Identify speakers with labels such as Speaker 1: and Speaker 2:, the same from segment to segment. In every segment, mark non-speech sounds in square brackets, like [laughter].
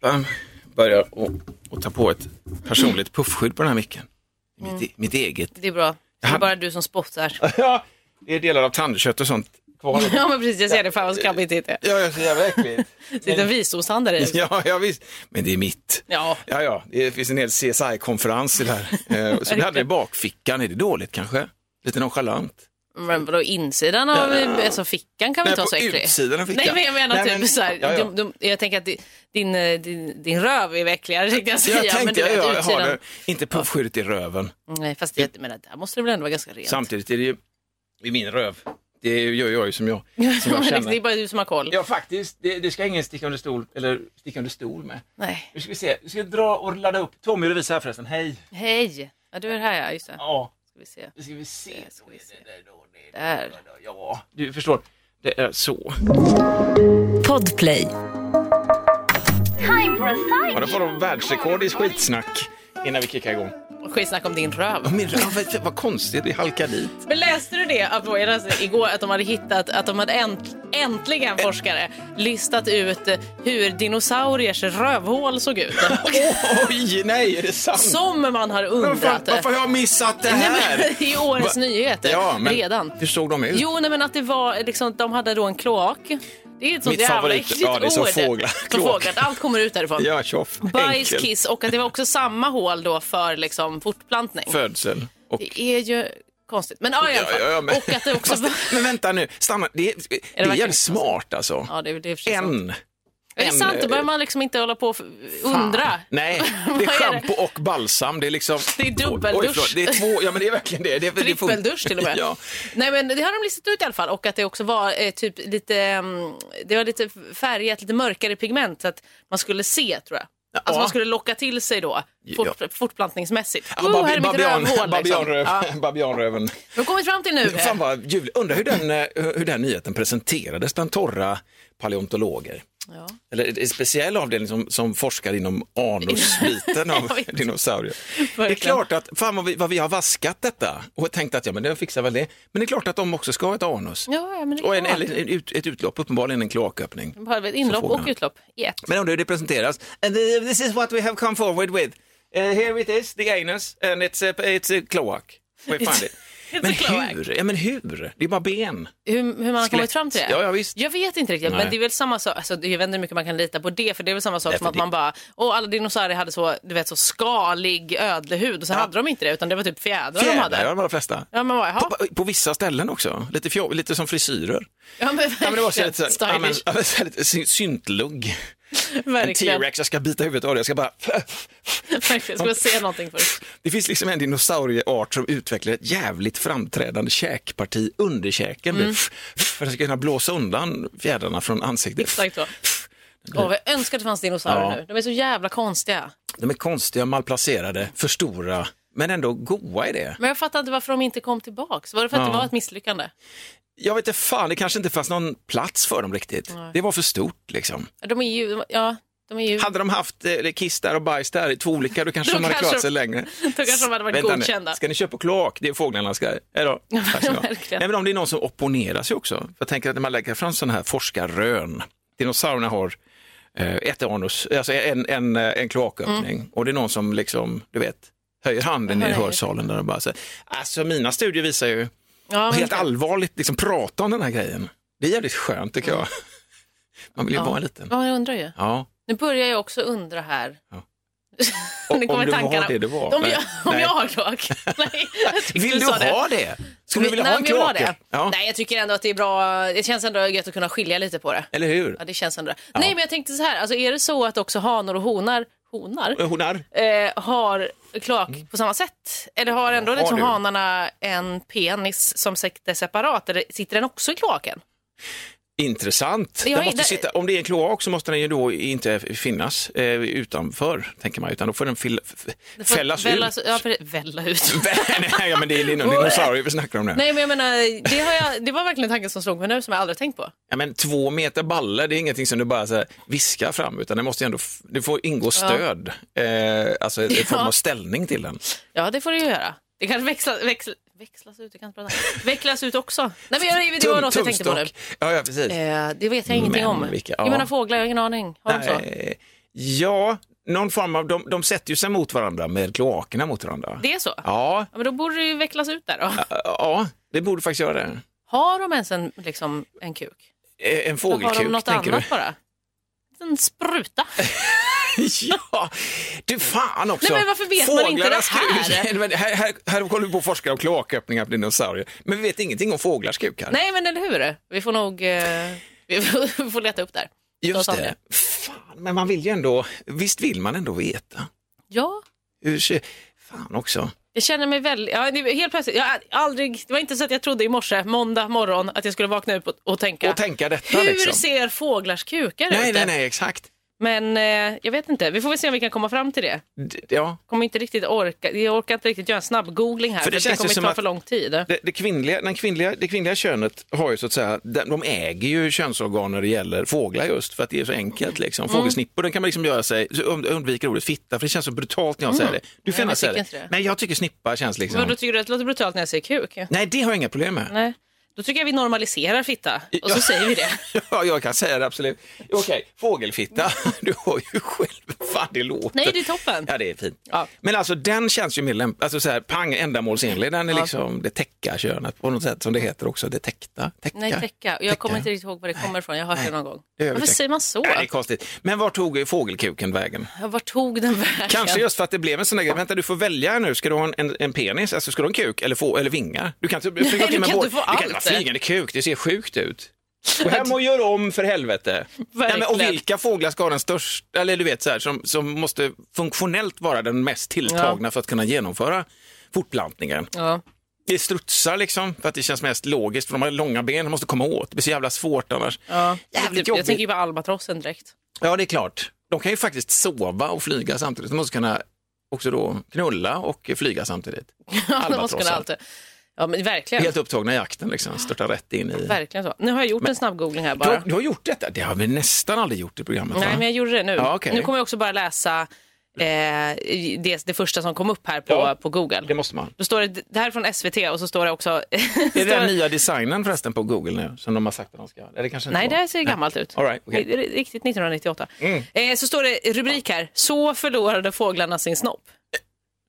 Speaker 1: Bam. Ehm, Börjar och, och ta på ett personligt puffskydd på den här micken. Mitt, e- mitt eget.
Speaker 2: Det är bra. Det är
Speaker 1: Ja.
Speaker 2: bara du som spottar.
Speaker 1: [laughs]
Speaker 2: [laughs]
Speaker 1: Ja, det är delar av tandkött och sånt kvar.
Speaker 2: Ja men precis, jag ser det. Fan vad skabbigt det är.
Speaker 1: Ja, jag är så jävla [laughs] äckligt.
Speaker 2: Sitter en visdomshandlare i.
Speaker 1: Ja, ja, visst. Men det är mitt.
Speaker 2: Ja.
Speaker 1: Ja, ja, det finns en hel CSI-konferens i det [laughs] här. Eh, Så vi hade det i bakfickan. Är det dåligt kanske? Lite nonchalant.
Speaker 2: Men vadå insidan av alltså, fickan kan väl
Speaker 1: Nej,
Speaker 2: inte vara
Speaker 1: på
Speaker 2: så äcklig?
Speaker 1: utsidan av fickan.
Speaker 2: Nej men jag menar
Speaker 1: Nej,
Speaker 2: typ
Speaker 1: men-
Speaker 2: så här,
Speaker 1: ja, ja.
Speaker 2: De, de, jag tänker att di- din, eh, din, din röv är äckligare tänkte jag
Speaker 1: Jag
Speaker 2: säga. men
Speaker 1: tänkte,
Speaker 2: du
Speaker 1: jag,
Speaker 2: vet,
Speaker 1: jag har
Speaker 2: utsidan.
Speaker 1: det. Inte puffskyddet i röven.
Speaker 2: Nej fast jag menar, där måste det väl ändå vara ganska rent. [laughs]
Speaker 1: Samtidigt är det ju i min röv. Det gör jag ju som jag, som jag
Speaker 2: Men det är
Speaker 1: känner.
Speaker 2: bara du som har koll.
Speaker 1: Ja, faktiskt. Det, det ska ingen sticka under stol, eller sticka under stol med.
Speaker 2: Nej.
Speaker 1: Nu ska vi se. Nu ska jag dra och ladda upp. Tommy Lovisa här förresten. Hej!
Speaker 2: Hej! Ja du är här ja, just det.
Speaker 1: Ja,
Speaker 2: Ska vi se.
Speaker 1: nu ska vi se.
Speaker 2: Det ska vi se. Där.
Speaker 1: Ja, du förstår. Det är så.
Speaker 3: Podplay.
Speaker 1: Ja, då får de världsrekord i skitsnack innan vi kickar igång.
Speaker 2: Och Skitsnack om din röv.
Speaker 1: Min röv, vad konstigt, vi halkar dit.
Speaker 2: Men läste du det att vad är det, alltså, igår att de hade hittat att de hade änt, äntligen forskare listat ut eh, hur dinosauriers rövhål såg ut.
Speaker 1: [laughs] Oj, nej, är det sant?
Speaker 2: Som man har
Speaker 1: Men fan,
Speaker 2: undrat.
Speaker 1: varför har jag missat det
Speaker 2: Nej,
Speaker 1: här?
Speaker 2: men, [laughs] I årets
Speaker 1: Va-
Speaker 2: nyheter
Speaker 1: Ja, men
Speaker 2: redan.
Speaker 1: Hur såg de ut?
Speaker 2: Jo, nej, men att det var liksom, de hade då en kloak. Det är ett sånt
Speaker 1: Mitt
Speaker 2: jävla
Speaker 1: favorit.
Speaker 2: äckligt
Speaker 1: Ja, det är som
Speaker 2: ord.
Speaker 1: fåglar.
Speaker 2: Som
Speaker 1: Kloak.
Speaker 2: fåglar. Allt kommer ut därifrån.
Speaker 1: Ja, tjoff.
Speaker 2: Bajs,
Speaker 1: Enkel.
Speaker 2: kiss och att det var också samma hål då för liksom, fortplantning.
Speaker 1: Födsel. Och...
Speaker 2: Det är ju konstigt. Men ja, i alla fall.
Speaker 1: Ja, ja, men-
Speaker 2: Och att det också
Speaker 1: Fast,
Speaker 2: var...
Speaker 1: men vänta nu, stanna. Det är, det är,
Speaker 2: verkligen
Speaker 1: jävligt smart alltså.
Speaker 2: Ja, det, är- det är förstås sant.
Speaker 1: En.
Speaker 2: Är det
Speaker 1: en-
Speaker 2: sant? Då behöver man liksom inte hålla på och f- undra. [laughs]
Speaker 1: Nej,
Speaker 2: Vad
Speaker 1: det
Speaker 2: är
Speaker 1: är
Speaker 2: det?
Speaker 1: schampo och balsam. Det är liksom...
Speaker 2: Det är dubbeldusch.
Speaker 1: Oj, förlåt. det är två, ja men det är verkligen det. det, är- det får-
Speaker 2: Trippeldusch till och
Speaker 1: [laughs]
Speaker 2: med. Oh,
Speaker 1: Ja.
Speaker 2: Nej, men det har de listat ut i alla fall och att det också var eh, typ lite, mm, det var lite färgat, lite mörkare pigment så att man skulle se tror jag. Alltså man skulle locka till sig då, fort, fortplantningsmässigt.
Speaker 1: Ja,
Speaker 2: Oh,
Speaker 1: babi-
Speaker 2: här är mitt
Speaker 1: babian-
Speaker 2: rövhål liksom.
Speaker 1: babianröv- [laughs]
Speaker 2: Ja.
Speaker 1: Babianröven.
Speaker 2: De har kommit fram till nu.
Speaker 1: Fan vad ljuvligt. Undrar hur den, eh, hur den nyheten presenterades bland torra paleontologer.
Speaker 2: Ja.
Speaker 1: Eller en speciell avdelning som, som forskar inom anusbiten av
Speaker 2: [laughs] Jag vet.
Speaker 1: dinosaurier. Det är
Speaker 2: Verkligen.
Speaker 1: klart att, fan vad vi, vad vi har vaskat detta och tänkt att ja men det fixar väl det. Men det är klart att de också ska ha ett anus.
Speaker 2: Ja, ja, men det är
Speaker 1: och en,
Speaker 2: klart.
Speaker 1: eller en, ut, ett utlopp, uppenbarligen en kloaköppning.
Speaker 2: Bara ett inlopp
Speaker 1: Så får
Speaker 2: och
Speaker 1: man.
Speaker 2: utlopp i ett.
Speaker 1: Men undrar hur det presenteras. And uh, this is what we have come forward with. Uh, here it is, the anus, and it's a, it's a cloak. We
Speaker 2: It's-
Speaker 1: find it.
Speaker 2: [laughs] it's a
Speaker 1: Men
Speaker 2: cloak.
Speaker 1: hur? Ja men hur? Det är bara ben.
Speaker 2: Hur, hur man har kommit
Speaker 1: Skelett.
Speaker 2: fram till det?
Speaker 1: Ja, ja, visst.
Speaker 2: Jag vet inte riktigt,
Speaker 1: Nej.
Speaker 2: men det är väl samma sak. Alltså, jag vet inte hur mycket man kan lita på det, för det är väl samma sak
Speaker 1: Nej,
Speaker 2: som
Speaker 1: för
Speaker 2: att
Speaker 1: det-
Speaker 2: man bara, åh, alla dinosaurier hade så, du vet, så skalig ödlehud och sen hade de inte det, utan det var typ fjädrar, de
Speaker 1: Fjädrar
Speaker 2: hade.
Speaker 1: har de allra flesta.
Speaker 2: Ja, men vad, jaha.
Speaker 1: På, på vissa ställen också, lite, fjol, lite som frisyrer.
Speaker 2: Ja, men
Speaker 1: Ja, men det var så
Speaker 2: verkligen.
Speaker 1: lite, så här, ja, men,
Speaker 2: [laughs] Stylish.
Speaker 1: ja, men så här lite sy- syntlugg. En
Speaker 2: Verkligen.
Speaker 1: T-rex, jag ska bita huvudet av det. Jag ska bara... [laughs]
Speaker 2: Verkligen. Ska man se någonting först?
Speaker 1: Det finns liksom en dinosaurieart som utvecklar ett jävligt framträdande käkparti under käken. Mm. För att det ska kunna blåsa undan fjädrarna från ansiktet.
Speaker 2: Exakt så. Åh, vad jag önskar att det fanns dinosaurier
Speaker 1: Ja.
Speaker 2: nu. De är så jävla konstiga.
Speaker 1: De är konstiga, malplacerade, för stora, men ändå goa i det.
Speaker 2: Men jag fattar inte varför de inte kom tillbaks. Var det för att
Speaker 1: Ja.
Speaker 2: det var ett misslyckande?
Speaker 1: Jag vet inte fan, det kanske inte fanns någon plats för dem riktigt. Det var för stort liksom.
Speaker 2: De är ju, ja, de är ju...
Speaker 1: Hade de haft eh, kiss där och bajs där i två olika, då kanske
Speaker 2: Då
Speaker 1: de hade
Speaker 2: kanske
Speaker 1: klarat
Speaker 2: de-
Speaker 1: sig längre.
Speaker 2: då kanske [laughs] de hade varit
Speaker 1: Vänta nu,
Speaker 2: godkända.
Speaker 1: Ska ni köpa kloak? Det är fåglarna ska... Hej
Speaker 2: [laughs]
Speaker 1: då. Tack ska ni ha.
Speaker 2: verkligen.
Speaker 1: Nej, men om det är någon som opponerar sig också. Jag tänker att när man lägger fram sådana här forskarrön, dinosaurierna har eh, ett anus, alltså en, en, eh, en kloaköppning och det är någon som liksom, du vet, höjer handen i
Speaker 2: Mm. Höjer.
Speaker 1: hörsalen där och bara säger, alltså mina studier visar ju,
Speaker 2: Ja,
Speaker 1: och
Speaker 2: men-
Speaker 1: helt allvarligt liksom prata om den här grejen. Det är jävligt skönt tycker jag. [laughs] Man vill ju vara en liten.
Speaker 2: Ja, jag undrar ju.
Speaker 1: Ja.
Speaker 2: Nu börjar jag också undra här.
Speaker 1: Ja.
Speaker 2: [laughs] Nu kommer
Speaker 1: om du
Speaker 2: tankarna.
Speaker 1: har det du var.
Speaker 2: Om,
Speaker 1: Nej.
Speaker 2: jag, om
Speaker 1: Nej.
Speaker 2: jag
Speaker 1: [laughs]
Speaker 2: har kloak? Nej, jag tyckte
Speaker 1: Vill du
Speaker 2: sa det.
Speaker 1: ha det? Skulle du vilja
Speaker 2: Nej,
Speaker 1: ha en
Speaker 2: men jag vill
Speaker 1: kloak?
Speaker 2: ha det.
Speaker 1: Ja.
Speaker 2: Nej, jag tycker ändå att det är bra. Det känns ändå gött att kunna skilja lite på det.
Speaker 1: Eller hur?
Speaker 2: Ja, det känns ändå. Nej, men jag tänkte så här. Alltså, är det så att också hanar och honar, honar
Speaker 1: Honar?
Speaker 2: eh, har kloak på samma sätt? Eller har ändå
Speaker 1: Mm. Har
Speaker 2: liksom
Speaker 1: du?
Speaker 2: hanarna en penis som sitter separat? Eller sitter den också i kloaken?
Speaker 1: Intressant.
Speaker 2: Jag
Speaker 1: Den
Speaker 2: är-
Speaker 1: måste
Speaker 2: där-
Speaker 1: sitta, om det är en kloak så måste den ju då inte finnas eh, utanför, tänker man, utan då får den fil, f-
Speaker 2: Får-
Speaker 1: fällas
Speaker 2: vällas,
Speaker 1: ut.
Speaker 2: Ja, för, välla ut.
Speaker 1: [laughs] Nej, ja, men det är din- dinosaurier vi snackar om nu.
Speaker 2: Nej, men jag menar, det, har jag, det var verkligen en tanke som slog mig nu som jag aldrig tänkt på.
Speaker 1: Ja, men två meter baller, det är ingenting som du bara så här, viskar fram, utan det måste ju ändå, f- det får ingå stöd, eh, alltså en form av ställning till den.
Speaker 2: Ja, det får du ju göra. Det kan växla, växla, växlas ut, jag kan inte prata. Vecklas ut också. Nej, men jag, det var något jag tänkte på nu.
Speaker 1: Tumstock. Ja, ja, precis.
Speaker 2: Eh, det vet jag ingenting
Speaker 1: Men
Speaker 2: om.
Speaker 1: vilka-
Speaker 2: Jag
Speaker 1: ja.
Speaker 2: menar fåglar, jag har ingen aning. Har de så?
Speaker 1: Nej, Ja, någon form av, de, de sätter ju sig mot varandra med kloakerna mot varandra.
Speaker 2: Det är så? Ja.
Speaker 1: Ja,
Speaker 2: men då borde det ju vecklas ut där då.
Speaker 1: ja, det borde faktiskt göra det.
Speaker 2: Har de ens en, liksom, en kuk?
Speaker 1: Eh, En
Speaker 2: Då har
Speaker 1: fågelkuk
Speaker 2: de något
Speaker 1: tänker
Speaker 2: annat bara.
Speaker 1: [laughs]
Speaker 2: En spruta.
Speaker 1: du? [laughs] ja, du fan också.
Speaker 2: Nej, men varför vet man inte det
Speaker 1: Fåglarnas
Speaker 2: här?
Speaker 1: kuk. [laughs] Nej, men här, här, här håller vi på att forska om kloaköppningar på dinosaurier, men vi vet ingenting om fåglars kukar.
Speaker 2: Nej men eller hur? Vi får nog eh, vi får [laughs] leta upp där.
Speaker 1: Just
Speaker 2: Vad sa
Speaker 1: det. Fan, men man vill ju ändå, visst vill man ändå veta?
Speaker 2: Ja,
Speaker 1: Hur ser, fan också.
Speaker 2: jag känner mig väldigt... Ja, det- helt plötsligt, jag har aldrig, det var inte så att jag trodde i morse, måndag morgon, att jag skulle vakna upp och, och tänka.
Speaker 1: Och tänka detta
Speaker 2: hur
Speaker 1: liksom.
Speaker 2: ser fåglars kukar
Speaker 1: Nej,
Speaker 2: ut?
Speaker 1: nej, nej, exakt.
Speaker 2: Men eh, jag vet inte, vi får väl se om vi kan komma fram till det.
Speaker 1: D- Ja,
Speaker 2: Kommer inte riktigt orka, jag orkar inte riktigt göra en snabb googling här
Speaker 1: För
Speaker 2: för
Speaker 1: det
Speaker 2: det,
Speaker 1: känns ju
Speaker 2: kommer
Speaker 1: som
Speaker 2: inte ta
Speaker 1: att-
Speaker 2: för lång tid.
Speaker 1: det, det, kvinnliga, den kvinnliga, det kvinnliga könet har ju så att säga, de, de äger ju könsorgan när det gäller fåglar just för att det är så enkelt liksom.
Speaker 2: Mm.
Speaker 1: Fågelsnippor, den kan man liksom göra sig, så und- undviker ordet fitta för det känns så brutalt när jag säger det. Du får
Speaker 2: Mm. Nej,
Speaker 1: gärna
Speaker 2: jag
Speaker 1: säga
Speaker 2: tycker
Speaker 1: det.
Speaker 2: inte det.
Speaker 1: Nej, jag tycker snippa känns liksom.
Speaker 2: Vadå, tycker du att det låter brutalt när jag säger kuk?
Speaker 1: Nej, det har jag inga problem med.
Speaker 2: Nej. Då tycker jag vi normaliserar fitta och så
Speaker 1: Ja.
Speaker 2: säger vi det.
Speaker 1: [laughs] Ja, jag kan säga det absolut. Okej, fågelfitta, [laughs] du har ju själv, fan det låter.
Speaker 2: Mm. Nej, det är toppen.
Speaker 1: Ja, det är fint.
Speaker 2: Ja.
Speaker 1: Men alltså den känns ju mer lämplig, alltså så här, pang, ändamålsenlig. Den är liksom det täcka könet på något sätt som det heter också, det täckta. täcka.
Speaker 2: Nej, täcka. Jag kommer inte riktigt ihåg var det kommer ifrån. Jag har hört det någon gång.
Speaker 1: det gör vi
Speaker 2: Varför
Speaker 1: täcka.
Speaker 2: säger man så?
Speaker 1: Nej, det är konstigt. Men var tog fågelkuken vägen?
Speaker 2: Ja, Vart tog den vägen?
Speaker 1: Kanske just för att det blev en sån där grej, vänta du får välja nu, ska du ha en, en, en penis, alltså ska du ha en kuk eller, få, eller vingar? Du kan inte flyga
Speaker 2: Nej,
Speaker 1: till
Speaker 2: du
Speaker 1: med
Speaker 2: kan
Speaker 1: båt.
Speaker 2: inte få
Speaker 1: Du kan inte ha
Speaker 2: allt.
Speaker 1: flygande kuk, det ser sjukt ut. Gå
Speaker 2: [laughs]
Speaker 1: hem och gör om för helvete. Nej, men, och
Speaker 2: Verkligen.
Speaker 1: vilka fåglar ska ha den största, eller du vet så här, som, som måste funktionellt vara den mest tilltagna för att kunna genomföra fortplantningen?
Speaker 2: Ja.
Speaker 1: Det är strutsar liksom, för att det känns mest logiskt, för de har långa ben, de måste komma åt. Det blir så jävla svårt annars.
Speaker 2: Ja.
Speaker 1: Jävligt
Speaker 2: Typ,
Speaker 1: jobbigt.
Speaker 2: jag tänker ju på albatrossen direkt.
Speaker 1: Ja, det är klart. De kan ju faktiskt sova och flyga samtidigt. De måste kunna också då knulla och flyga samtidigt.
Speaker 2: Albatrossen. måste kunna allt. Ja, men verkligen.
Speaker 1: Helt upptagna i jakten, liksom. störta rätt in i...
Speaker 2: verkligen så. Nu har jag gjort en snabb googling här
Speaker 1: Du
Speaker 2: bara.
Speaker 1: har, du har gjort detta? Det har vi nästan aldrig gjort i programmet.
Speaker 2: Nej,
Speaker 1: va?
Speaker 2: men jag gjorde det nu.
Speaker 1: Ja, okej.
Speaker 2: Nu kommer jag också bara läsa eh, det, det första som kom upp här på,
Speaker 1: Ja.
Speaker 2: på Google.
Speaker 1: Det måste man.
Speaker 2: Då står det, det här är från SVT och så står det också... [laughs]
Speaker 1: Är det den nya designen förresten på Google nu som de har sagt att de ska göra? Eller kanske inte
Speaker 2: Nej, det
Speaker 1: var.
Speaker 2: här ser gammalt ut.
Speaker 1: All right, Mm. okej.
Speaker 2: Det är Riktigt 1998. Eh, så står det rubrik här, så förlorade fåglarna sin snopp.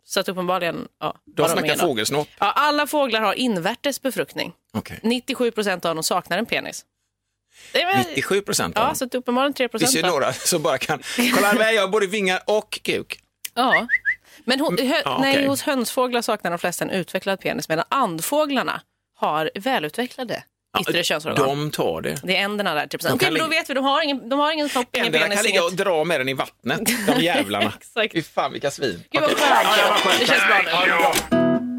Speaker 2: Så att uppenbarligen, ja.
Speaker 1: De
Speaker 2: vad
Speaker 1: snackar
Speaker 2: menar.
Speaker 1: fågelsnopp.
Speaker 2: Ja, alla fåglar har invärtes befruktning.
Speaker 1: Okej.
Speaker 2: 97 procent av dem saknar en penis. Det är väl-
Speaker 1: 97 procent
Speaker 2: Ja, så att uppenbarligen 3
Speaker 1: Det finns ju
Speaker 2: procent.
Speaker 1: några som bara kan, kolla här, jag har både vingar och kuk.
Speaker 2: Ja. Men hon, hö,
Speaker 1: Ja, okej.
Speaker 2: nej, hos hönsfåglar saknar de flesta en utvecklad penis medan andfåglarna har välutvecklade [laughs] yttre könsorgan.
Speaker 1: De tar det.
Speaker 2: Det är änderna där. Typ. Okej,
Speaker 1: kan
Speaker 2: men då
Speaker 1: ligga-
Speaker 2: vet vi, de har ingen, de har ingen snopp, ingen
Speaker 1: Änderna
Speaker 2: penis.
Speaker 1: kan ligga
Speaker 2: inget-
Speaker 1: och dra med den i vattnet, de jävlarna.
Speaker 2: [laughs] Exakt.
Speaker 1: Fy fan vilka svin.
Speaker 2: Gud vad skönt. Det känns bra nu.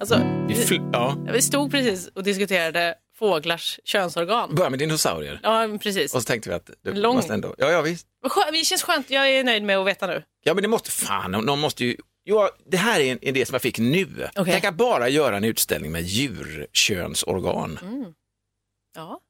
Speaker 2: Alltså,
Speaker 1: Vi fl- ja.
Speaker 2: vi stod precis och diskuterade fåglars könsorgan.
Speaker 1: Börja med dinosaurier.
Speaker 2: Ja, men precis.
Speaker 1: Och så tänkte vi att det
Speaker 2: Lång.
Speaker 1: måste ändå... Ja, ja, visst.
Speaker 2: Vad skö- Det känns skönt, jag är nöjd med att veta nu.
Speaker 1: Ja, men det måste... Fan, någon måste ju... Jo, det här är en idé som jag fick nu.
Speaker 2: Okej.
Speaker 1: Tänk att bara göra en utställning med djurkönsorgan.
Speaker 2: Mm. Ja.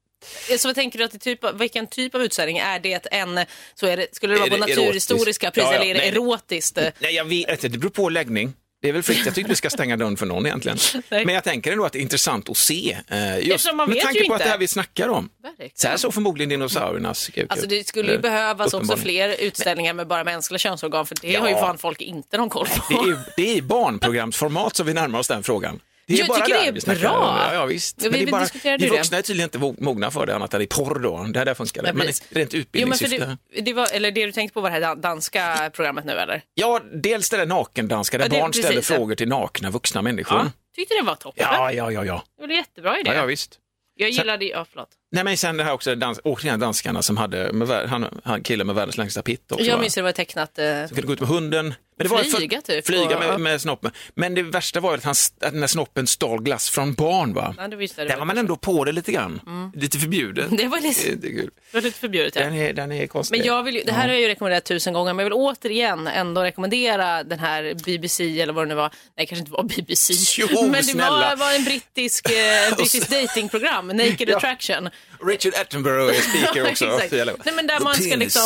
Speaker 2: Så vad tänker du att det typ, av- vilken typ av utställning är det? En, så är det skulle det vara
Speaker 1: Är
Speaker 2: på
Speaker 1: det
Speaker 2: Naturhistoriska
Speaker 1: erotiskt?
Speaker 2: priset
Speaker 1: Ja, ja,
Speaker 2: eller är det
Speaker 1: nej. Mm.
Speaker 2: erotiskt?
Speaker 1: Nej, jag vet inte. Det beror på läggning. Det är väl fritt. Jag tycker vi ska stänga dörren för någon egentligen.
Speaker 2: [laughs] Nej.
Speaker 1: Men jag tänker ändå att det är intressant att se. eh, Just
Speaker 2: Eftersom man
Speaker 1: med
Speaker 2: vet
Speaker 1: tanke
Speaker 2: ju
Speaker 1: på att
Speaker 2: inte.
Speaker 1: det här vi snackar om.
Speaker 2: Verkligen.
Speaker 1: Så här såg förmodligen dinosauriernas Eh, kuk
Speaker 2: Alltså
Speaker 1: ut.
Speaker 2: det skulle ju
Speaker 1: Eller,
Speaker 2: behövas också
Speaker 1: uppenbarligen.
Speaker 2: fler utställningar med bara mänskliga könsorgan för det
Speaker 1: Ja.
Speaker 2: har ju fan folk inte någon koll
Speaker 1: Det
Speaker 2: på. [laughs]
Speaker 1: är, det är i barnprogramsformat som vi närmar oss den frågan. Det är
Speaker 2: Jag
Speaker 1: bara
Speaker 2: tycker det
Speaker 1: där
Speaker 2: är
Speaker 1: vi snackar
Speaker 2: bra.
Speaker 1: om det. Ja, ja, visst.
Speaker 2: Ja, vi-
Speaker 1: Men det är
Speaker 2: vi
Speaker 1: bara,
Speaker 2: diskuterade
Speaker 1: vi
Speaker 2: ju det.
Speaker 1: vuxna är tydligen inte vo- mogna för det, annat än i porr då. Det är där funkar det.
Speaker 2: Nej,
Speaker 1: Men
Speaker 2: precis.
Speaker 1: rent
Speaker 2: Jo, men för
Speaker 1: utbildningssyfte.
Speaker 2: det, det var, eller det du tänkte på var det här dan- danska programmet nu eller?
Speaker 1: Ja, dels det där nakendanska där
Speaker 2: Ja, det-
Speaker 1: barn ställer
Speaker 2: precis, ja.
Speaker 1: frågor till nakna vuxna människor. Ja,
Speaker 2: Tyckte det var toppen.
Speaker 1: ja, ja, ja. ja.
Speaker 2: Det var en jättebra idé.
Speaker 1: ja, visst.
Speaker 2: Jag gillade ju, ja förlåt.
Speaker 1: Nej, men sen det här också, dans, återigen danskarna som hade, med, vär- han, han killen med världens längsta pitt också.
Speaker 2: Jag
Speaker 1: va?
Speaker 2: minns hur det var tecknat. Eh,
Speaker 1: Så kunde gå ut med hunden. Men det
Speaker 2: Flyga typ,
Speaker 1: Flyga
Speaker 2: och-
Speaker 1: med, med snoppen. Men det värsta var ju att, han, st- att den där snoppen stal glass från barn. Va?
Speaker 2: nej, det, var just det,
Speaker 1: Där var man ändå på det lite grann. Lite förbjudet.
Speaker 2: Mm. [laughs] det var lite,
Speaker 1: Det är kul.
Speaker 2: det var lite förbjudet. Ja.
Speaker 1: Den är, den är konstig.
Speaker 2: Men jag vill ju, det här har jag ju rekommenderat tusen gånger, men jag vill återigen ändå rekommendera den här BBC eller vad det nu var. Nej, kanske inte var BBC.
Speaker 1: [laughs] Jo,
Speaker 2: [laughs] men det
Speaker 1: snälla.
Speaker 2: var, var en brittisk,
Speaker 1: [laughs]
Speaker 2: eh, en brittisk datingprogram, Naked Attraction.
Speaker 1: Richard Attenborough är
Speaker 2: [laughs]
Speaker 1: speaker också.
Speaker 2: Exakt.
Speaker 1: Fy, jävlar.
Speaker 2: Nej, men där
Speaker 1: The
Speaker 2: man ska eh,
Speaker 1: penis.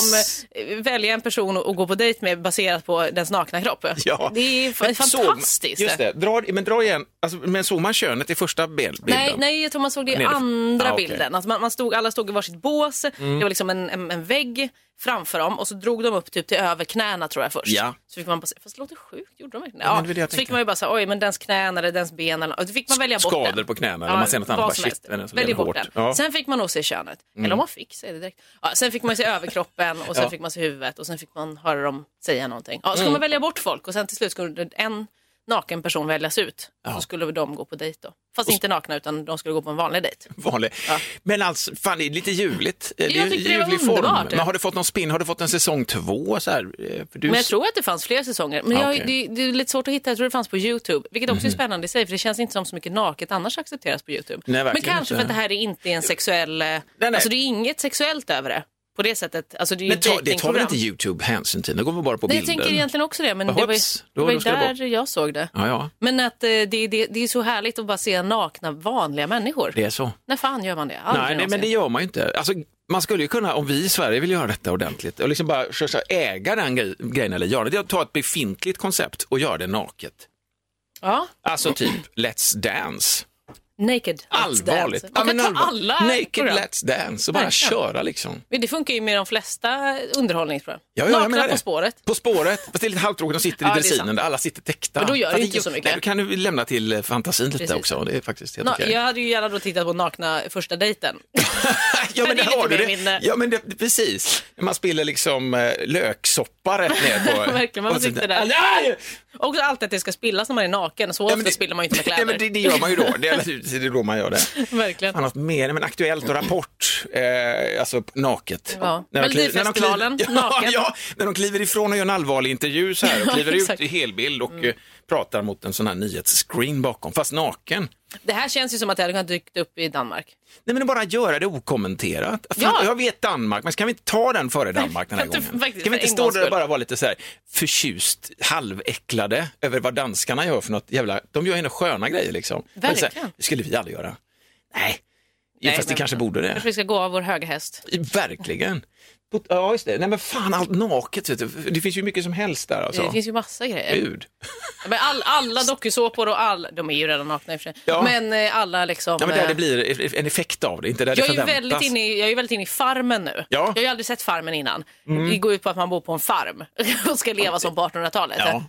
Speaker 2: liksom eh, välja en person och och gå på dejt med baserat på den nakna kropp.
Speaker 1: [laughs] Ja.
Speaker 2: Det är fa-
Speaker 1: Men såg man-
Speaker 2: fantastiskt.
Speaker 1: Just det, dra, men dra igen, alltså, men såg man könet i första bil- bilden?
Speaker 2: Nej, nej, jag tror man såg det i
Speaker 1: Nerifrån.
Speaker 2: andra
Speaker 1: Ah, okej. Mm.
Speaker 2: bilden. Att man, man stod, alla stod i varsitt bås, det var liksom en, en, en vägg framför dem och så drog de upp typ till över knäna tror jag först.
Speaker 1: Ja.
Speaker 2: Så fick man bara, se- fast det låter sjukt, gjorde de verkligen det?
Speaker 1: Ja, men
Speaker 2: ja,
Speaker 1: det vill jag
Speaker 2: Så fick
Speaker 1: tänka.
Speaker 2: man ju bara säga, oj men dens knän eller dens ben eller och då fick man välja bort
Speaker 1: Skador
Speaker 2: den.
Speaker 1: på knäna eller man ser något annat,
Speaker 2: vad
Speaker 1: bara,
Speaker 2: som
Speaker 1: shit,
Speaker 2: helst.
Speaker 1: den är så
Speaker 2: Välj
Speaker 1: jävla
Speaker 2: bort
Speaker 1: hårt.
Speaker 2: den.
Speaker 1: Ja. Mm.
Speaker 2: Sen fick man nog se könet, eller om man fick säger det direkt. Ja, sen fick man se överkroppen och sen
Speaker 1: Ja. Mm.
Speaker 2: fick man se huvudet och sen fick man höra dem säga någonting. Ja, så skulle man välja bort folk och sen till slut skulle en naken person väljas ut. Så skulle de gå på dejt då. Fast inte nakna utan de skulle gå på en vanlig dejt.
Speaker 1: Vanlig. Men alltså, fan det är lite ljuvligt. Eh, Det är
Speaker 2: Jag
Speaker 1: ju
Speaker 2: tyckte det var
Speaker 1: ljuvlig
Speaker 2: underbart.
Speaker 1: Men har du fått någon spin, har du fått en säsong två? Så här? Eh, För du...
Speaker 2: Men jag tror att det fanns fler säsonger. Men
Speaker 1: Ja,
Speaker 2: jag,
Speaker 1: Ah, okej. Mhm.
Speaker 2: det, det är lite svårt att hitta. Jag tror det fanns på Youtube. Vilket också är spännande i sig. För det känns inte som så mycket naket annars accepteras på Youtube.
Speaker 1: Nej,
Speaker 2: men
Speaker 1: verkligen inte.
Speaker 2: kanske för att det här är inte en sexuell... Nej,
Speaker 1: nej.
Speaker 2: Alltså det är inget sexuellt över det. På det sättet. Alltså det är ju
Speaker 1: Men ta, det tar väl
Speaker 2: dejtingprogram.
Speaker 1: inte YouTube hänsyn till? Det går väl bara på
Speaker 2: Nej, jag
Speaker 1: bilden?
Speaker 2: tänker egentligen också det. Men det var ju,
Speaker 1: Hopps, då-
Speaker 2: det var ju
Speaker 1: då ska det
Speaker 2: där jag såg det.
Speaker 1: Ja, ja,
Speaker 2: Men att eh, det, det, det är så härligt att bara se nakna vanliga människor.
Speaker 1: det är så.
Speaker 2: När fan gör man det? Aldrig
Speaker 1: Nej, nej, men
Speaker 2: någonsin.
Speaker 1: det gör man ju inte. Alltså, man skulle ju kunna, om vi i Sverige vill göra detta ordentligt, och liksom bara så, så, äga den grej, grejen eller göra det, det är att ta ett befintligt koncept och göra det naket.
Speaker 2: Ja,
Speaker 1: Alltså typ Let's Dance.
Speaker 2: naked.
Speaker 1: Allvarligt.
Speaker 2: Man kan
Speaker 1: men
Speaker 2: ta
Speaker 1: allvar-
Speaker 2: alla
Speaker 1: Naked
Speaker 2: program.
Speaker 1: Let's Dance och bara
Speaker 2: Verkligen.
Speaker 1: köra liksom.
Speaker 2: Men Det funkar ju med de flesta underhållningsprogram.
Speaker 1: Ja, ja, jag menar
Speaker 2: Nakna
Speaker 1: det.
Speaker 2: på spåret.
Speaker 1: På spåret, fast det är lite halvtråkigt, de sitter
Speaker 2: Ja,
Speaker 1: i
Speaker 2: det är
Speaker 1: dressinen
Speaker 2: sant.
Speaker 1: där alla sitter täckta.
Speaker 2: Men då gör det
Speaker 1: Fast
Speaker 2: inte så mycket.
Speaker 1: Nej, då kan du lämna till eh, fantasin lite
Speaker 2: Precis.
Speaker 1: också, det är faktiskt helt
Speaker 2: Na,
Speaker 1: okej.
Speaker 2: Jag hade ju gärna då tittat på nakna
Speaker 1: [laughs]
Speaker 2: första dejten.
Speaker 1: ja, men
Speaker 2: Men det är
Speaker 1: där har
Speaker 2: lite
Speaker 1: du
Speaker 2: mer
Speaker 1: det.
Speaker 2: min-
Speaker 1: Ja, men det, precis. Man spiller liksom eh, löksoppa rätt ner på...
Speaker 2: [laughs] Verkligen, man
Speaker 1: och så-
Speaker 2: sitter där.
Speaker 1: Nej!
Speaker 2: Och så alltid att det ska spillas när man är naken. Så ofta
Speaker 1: men det-
Speaker 2: spiller man ju inte
Speaker 1: [laughs]
Speaker 2: med
Speaker 1: Nej,
Speaker 2: kläder.
Speaker 1: men det, det gör man ju då. Det är, naturligtvis- det är då man gör det.
Speaker 2: [laughs] Verkligen.
Speaker 1: Fan, något mer, men aktuellt och Rapport, eh, alltså naket.
Speaker 2: Ja.
Speaker 1: de kliver-
Speaker 2: Melodifestivalen,
Speaker 1: när de kliver- [laughs] ja,
Speaker 2: naken.
Speaker 1: ja, när de kliver ifrån och gör en allvarlig intervju så här och
Speaker 2: [laughs] Ja,
Speaker 1: kliver ut
Speaker 2: exakt. Mm.
Speaker 1: i helbild och eh, pratar mot en sån här nyhetsscreen bakom, fast naken.
Speaker 2: Det här känns ju som att det hade kunnat dykt upp i Danmark.
Speaker 1: Nej men bara göra det okommenterat. Fan,
Speaker 2: Ja.
Speaker 1: Jag vet Danmark, men ska vi inte ta den före Danmark den här
Speaker 2: Kan inte-
Speaker 1: gången?
Speaker 2: faktiskt,
Speaker 1: Ska vi inte
Speaker 2: för en
Speaker 1: stå
Speaker 2: gångs
Speaker 1: där och
Speaker 2: skull.
Speaker 1: bara vara lite så här förtjust, halväcklade över vad danskarna gör för något jävla, de gör ju några sköna grejer liksom. Men så här,
Speaker 2: Verkligen.
Speaker 1: Det skulle vi aldrig göra. Nej,
Speaker 2: Nej,
Speaker 1: fast det
Speaker 2: men-
Speaker 1: kanske borde det.
Speaker 2: Kanske vi ska gå av vår höga häst.
Speaker 1: Verkligen. På- Ja, just det. Nej men fan, allt naket. Vet du. Det finns ju mycket som helst där alltså.
Speaker 2: Det finns ju massa grejer.
Speaker 1: Gud.
Speaker 2: Ja, Men all, alla dokusåpor och all... De är ju redan nakna i och för sig.
Speaker 1: Ja.
Speaker 2: Men eh, alla liksom...
Speaker 1: Ja, men där
Speaker 2: eh,
Speaker 1: det blir e- en effekt av det, inte där det
Speaker 2: jag, är ju
Speaker 1: förväntas.
Speaker 2: väldigt inne i, jag är ju väldigt inne i farmen nu.
Speaker 1: Ja. Mm.
Speaker 2: Jag har ju aldrig sett farmen innan. Det går ut på att man bor på en farm [laughs] och ska leva som på 1800-talet.
Speaker 1: Ja.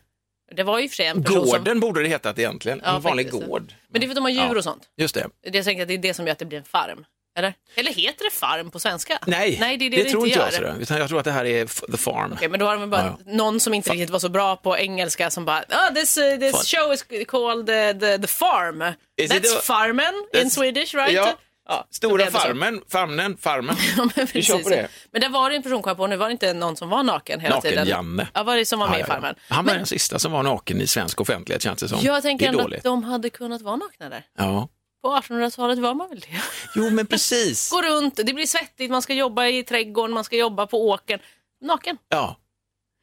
Speaker 2: Det var ju i och för sig en person som...
Speaker 1: Gården borde det hetat egentligen.
Speaker 2: Ja,
Speaker 1: en vanlig
Speaker 2: faktiskt.
Speaker 1: gård.
Speaker 2: Men det är för att de har djur
Speaker 1: Ja.
Speaker 2: och sånt.
Speaker 1: Just det.
Speaker 2: Det jag tänker att det är det som gör att det blir en farm. Eller? Eller heter det farm på svenska?
Speaker 1: Nej,
Speaker 2: Nej det, är det, det
Speaker 1: tror inte
Speaker 2: inte gör.
Speaker 1: jag. Sådär. Utan jag tror att det här är f- the farm.
Speaker 2: Okej, men då har de bara
Speaker 1: Ja,
Speaker 2: någon som inte riktigt var så bra på engelska som bara oh, this, uh, this
Speaker 1: Farm.
Speaker 2: show is called uh, the, the farm.
Speaker 1: it
Speaker 2: That's
Speaker 1: a-
Speaker 2: farmen in
Speaker 1: that's-
Speaker 2: Swedish right?
Speaker 1: Ja.
Speaker 2: då
Speaker 1: Stora
Speaker 2: blev det så.
Speaker 1: farmen, farmen, farmen.
Speaker 2: [laughs] Ja, men
Speaker 1: Vi kör
Speaker 2: precis.
Speaker 1: på det.
Speaker 2: Men där var det en person kom jag på, nu var det inte någon som var naken hela tiden.
Speaker 1: Naken-Janne.
Speaker 2: Ja, var det som var med
Speaker 1: Ja,
Speaker 2: i
Speaker 1: ja, ja.
Speaker 2: farmen.
Speaker 1: Han var den sista som var naken i svensk offentlighet känns det som.
Speaker 2: Jag tänker
Speaker 1: det är
Speaker 2: ändå
Speaker 1: dåligt.
Speaker 2: att de hade kunnat vara nakna där.
Speaker 1: Ja.
Speaker 2: På 1800-talet var man väl det?
Speaker 1: Jo men
Speaker 2: [laughs]
Speaker 1: precis.
Speaker 2: Gå runt, det blir svettigt, man ska jobba i trädgården, man ska jobba på åkern. Naken,
Speaker 1: Ja.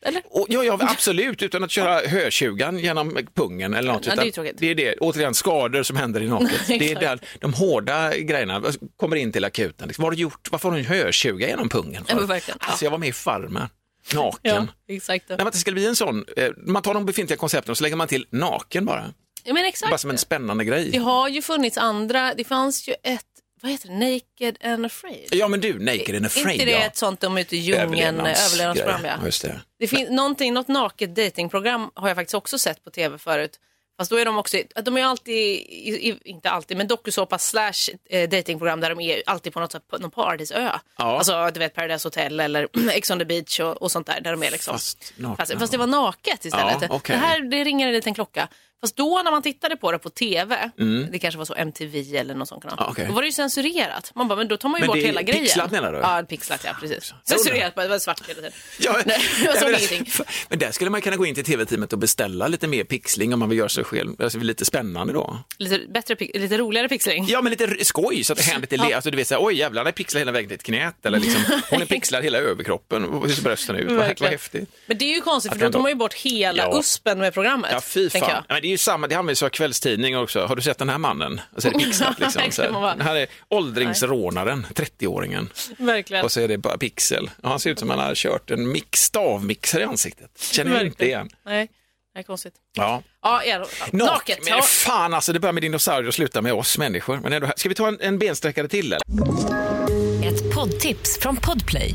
Speaker 2: eller?
Speaker 1: Och, ja, ja, absolut, utan att köra hötjugan genom pungen eller något.
Speaker 2: Ja,
Speaker 1: utan
Speaker 2: det är ju tråkigt.
Speaker 1: det är det, återigen, skador som händer i
Speaker 2: [laughs]
Speaker 1: naket. det är
Speaker 2: Exakt.
Speaker 1: där de hårda grejerna kommer in till akuten. Liksom, vad har du gjort? Varför har du en hötjuga genom pungen? för?
Speaker 2: Ja, men verkligen.
Speaker 1: Alltså, jag var med i Farmen, naken.
Speaker 2: exakt.
Speaker 1: Nej, men att det ska bli en sån, eh, man tar de befintliga koncepten och så lägger man till naken bara.
Speaker 2: Ja, men exakt.
Speaker 1: Bara som en spännande grej.
Speaker 2: Det har ju funnits andra, det fanns ju ett, vad heter det, Naked and Afraid?
Speaker 1: Ja men du, Naked and
Speaker 2: Är
Speaker 1: afraid.
Speaker 2: inte det
Speaker 1: ja.
Speaker 2: ett sånt de är ute i djungeln, eh,
Speaker 1: Överlevnads-
Speaker 2: överlevnadsprogram?
Speaker 1: grejer.
Speaker 2: Ja.
Speaker 1: Just det.
Speaker 2: Det finns någonting, något naket datingprogram har jag faktiskt också sett på tv förut. Fast då är de också, de är ju alltid, i- i- inte alltid, men dokusåpa slash eh, datingprogram där de är alltid på något sätt, på någon paradisö.
Speaker 1: Ja.
Speaker 2: Alltså du vet Paradise Hotel eller [clears throat] Ex on the beach och, och sånt där. där de är liksom.
Speaker 1: Fast nakna.
Speaker 2: fast, fast det var naket istället.
Speaker 1: Ja, okej.
Speaker 2: Det här det ringer en liten klocka. Fast då när man tittade på det på tv, det kanske var så MTV eller någon sån kanal,
Speaker 1: Mm. Ja, okej.
Speaker 2: då var det ju censurerat. Man bara, men då tar man ju
Speaker 1: Men
Speaker 2: bort
Speaker 1: det är
Speaker 2: hela grejen.
Speaker 1: pixlat, menar du?
Speaker 2: Ja, pixlat ja, precis. Censurerat, bara, det var svart hela tiden.
Speaker 1: Ja,
Speaker 2: [laughs] Nej, jag såg
Speaker 1: men-
Speaker 2: ingenting.
Speaker 1: [laughs] Men där skulle man kunna gå in till tv-teamet och beställa lite mer pixling om man vill göra sig själv alltså, lite spännande då.
Speaker 2: lite, bättre, pix- lite roligare pixling.
Speaker 1: Ja, men lite r- skoj så att det händer till le. Alltså, du vet, så här, oj jävlar, han är pixlad hela vägen till ett knät eller liksom, hon är pixlad hela överkroppen. och Hur ser brösten ut? Vad, vad
Speaker 2: Verkligen.
Speaker 1: häftigt.
Speaker 2: Men det är ju konstigt för
Speaker 1: Att
Speaker 2: då
Speaker 1: ändå-
Speaker 2: tar man ju bort hela
Speaker 1: Ja.
Speaker 2: uspen med programmet.
Speaker 1: Ja, fy
Speaker 2: tänker
Speaker 1: fan.
Speaker 2: jag.
Speaker 1: Ja, men det är ju samma, det används av kvällstidningar också. Har du sett den här mannen? Och så är det
Speaker 2: [laughs]
Speaker 1: pixlat liksom.
Speaker 2: Nej,
Speaker 1: Så här,
Speaker 2: kan man vara.
Speaker 1: den här är åldringsrånaren, 30-åringen.
Speaker 2: Verkligen.
Speaker 1: Och så är det bara pixel. Och han ser ut som han har kört en mix, stavmixer i ansiktet. Känner jag inte
Speaker 2: Verkligen.
Speaker 1: igen.
Speaker 2: Nej, det är konstigt.
Speaker 1: Ja.
Speaker 2: Ja, i alla fall. Naket.
Speaker 1: Men
Speaker 2: ja.
Speaker 1: fan alltså, det börjar med dinosaurier och slutar med oss människor. Men ändå, här- ska vi ta en, en bensträckare till eller?
Speaker 3: Ett poddtips från Podplay.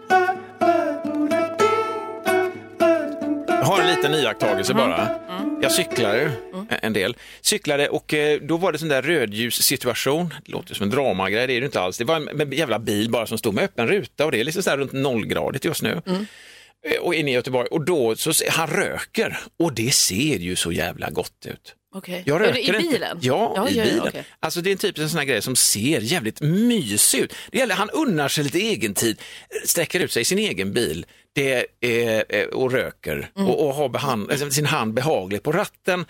Speaker 1: Jag har en liten iakttagelse bara. Jag cyklar ju en del. Cyklade och eh, då var det sån där rödljussituation. Det låter som en dramagrej, det är det inte alls. Det var en, en jävla bil bara som stod med öppen ruta och det är liksom så här runt nollgradigt just nu. Eh, Och inne i Göteborg och då så se- han röker och det ser ju så jävla gott ut.
Speaker 2: Okej.
Speaker 1: Jag
Speaker 2: Är
Speaker 1: röker
Speaker 2: det I
Speaker 1: inte.
Speaker 2: bilen?
Speaker 1: Ja, i
Speaker 2: ja, ja,
Speaker 1: bilen.
Speaker 2: okej.
Speaker 1: Alltså det är en typisk en sån här grej som ser jävligt mysig ut. Det gäller, han unnar sig lite egen tid, sträcker ut sig i sin egen bil det är, eh, och röker
Speaker 2: Mm.
Speaker 1: och, och har behand, alltså, sin hand behagligt på ratten.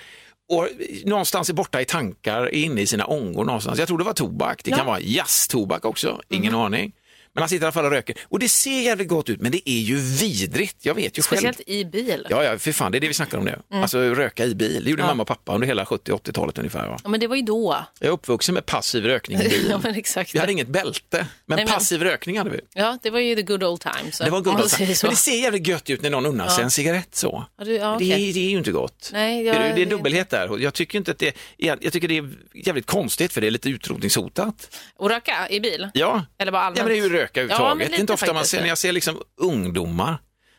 Speaker 1: Och någonstans är borta i tankar, är inne i sina ångor någonstans. Jag tror det var tobak, det kan vara jazztobak också, ingen
Speaker 2: Mm.
Speaker 1: aning. Men han sitter i alla fall och röker. Och det ser jävligt gott ut, men det är ju vidrigt. Jag vet ju själv.
Speaker 2: Speciellt i bil. Ja.
Speaker 1: Ja, ja, för fan, det är det vi snackar om nu.
Speaker 2: Mm.
Speaker 1: Alltså röka i bil, det gjorde mamma och pappa under hela 70-80-talet ungefär. Va?
Speaker 2: men det var ju då.
Speaker 1: Jag är uppvuxen med passiv rökning
Speaker 2: [laughs]
Speaker 1: i bilen.
Speaker 2: Ja, men exakt.
Speaker 1: Vi hade inget bälte, men
Speaker 2: Nej, men-
Speaker 1: passiv rökning hade vi.
Speaker 2: Ja, det var ju the good old times.
Speaker 1: Det var en
Speaker 2: om man
Speaker 1: gubbe
Speaker 2: säger så.
Speaker 1: Men det ser jävligt gött ut när någon unnar sig en cigarett så.
Speaker 2: Ja, du- ja,
Speaker 1: det,
Speaker 2: okej.
Speaker 1: är, det är ju inte gott.
Speaker 2: Nej,
Speaker 1: det,
Speaker 2: jag-
Speaker 1: är, det är en dubbelhet där. Jag tycker, inte att det, är- jag tycker det är jävligt konstigt för det är lite utrotningshotat.
Speaker 2: Och röka i bil?
Speaker 1: Ja,
Speaker 2: Eller bara allmänt?
Speaker 1: ja men det är ju röka
Speaker 2: Ja, men
Speaker 1: överhuvudtaget. det är
Speaker 2: lite
Speaker 1: inte ofta man
Speaker 2: faktiskt.
Speaker 1: ser, när jag ser liksom ungdomar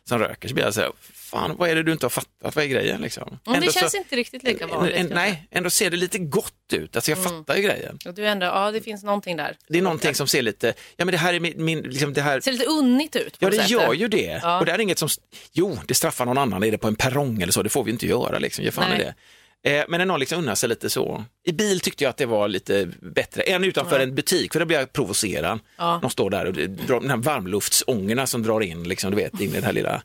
Speaker 1: som röker så blir jag så här, fan vad är det du inte har fattat, vad är grejen liksom?
Speaker 2: Mm, det
Speaker 1: Ändå så-
Speaker 2: känns inte riktigt lika vanligt.
Speaker 1: En,
Speaker 2: kanske. Mm.
Speaker 1: nej, ändå ser det lite gott ut. Alltså jag fattar ju grejen.
Speaker 2: Och Du ändå, ja, det finns någonting där.
Speaker 1: Det är någonting som ser lite, ja men det här är min, min liksom det här,
Speaker 2: Ser lite unnigt ut. på
Speaker 1: ja det
Speaker 2: något sätt.
Speaker 1: gör ju det.
Speaker 2: Ja.
Speaker 1: Och det här är inget som, jo det straffar någon annan, är det på en perrong eller så, det får vi inte göra liksom, ge fan i
Speaker 2: Nej.
Speaker 1: det. Eh, Men när någon liksom unnar sig lite så. I bil tyckte jag att det var lite bättre, än utanför en butik, för då blir jag provocerad.
Speaker 2: Ja.
Speaker 1: De står där och det drar, den här varmluftsångorna som drar in, liksom, du vet, in i den här lilla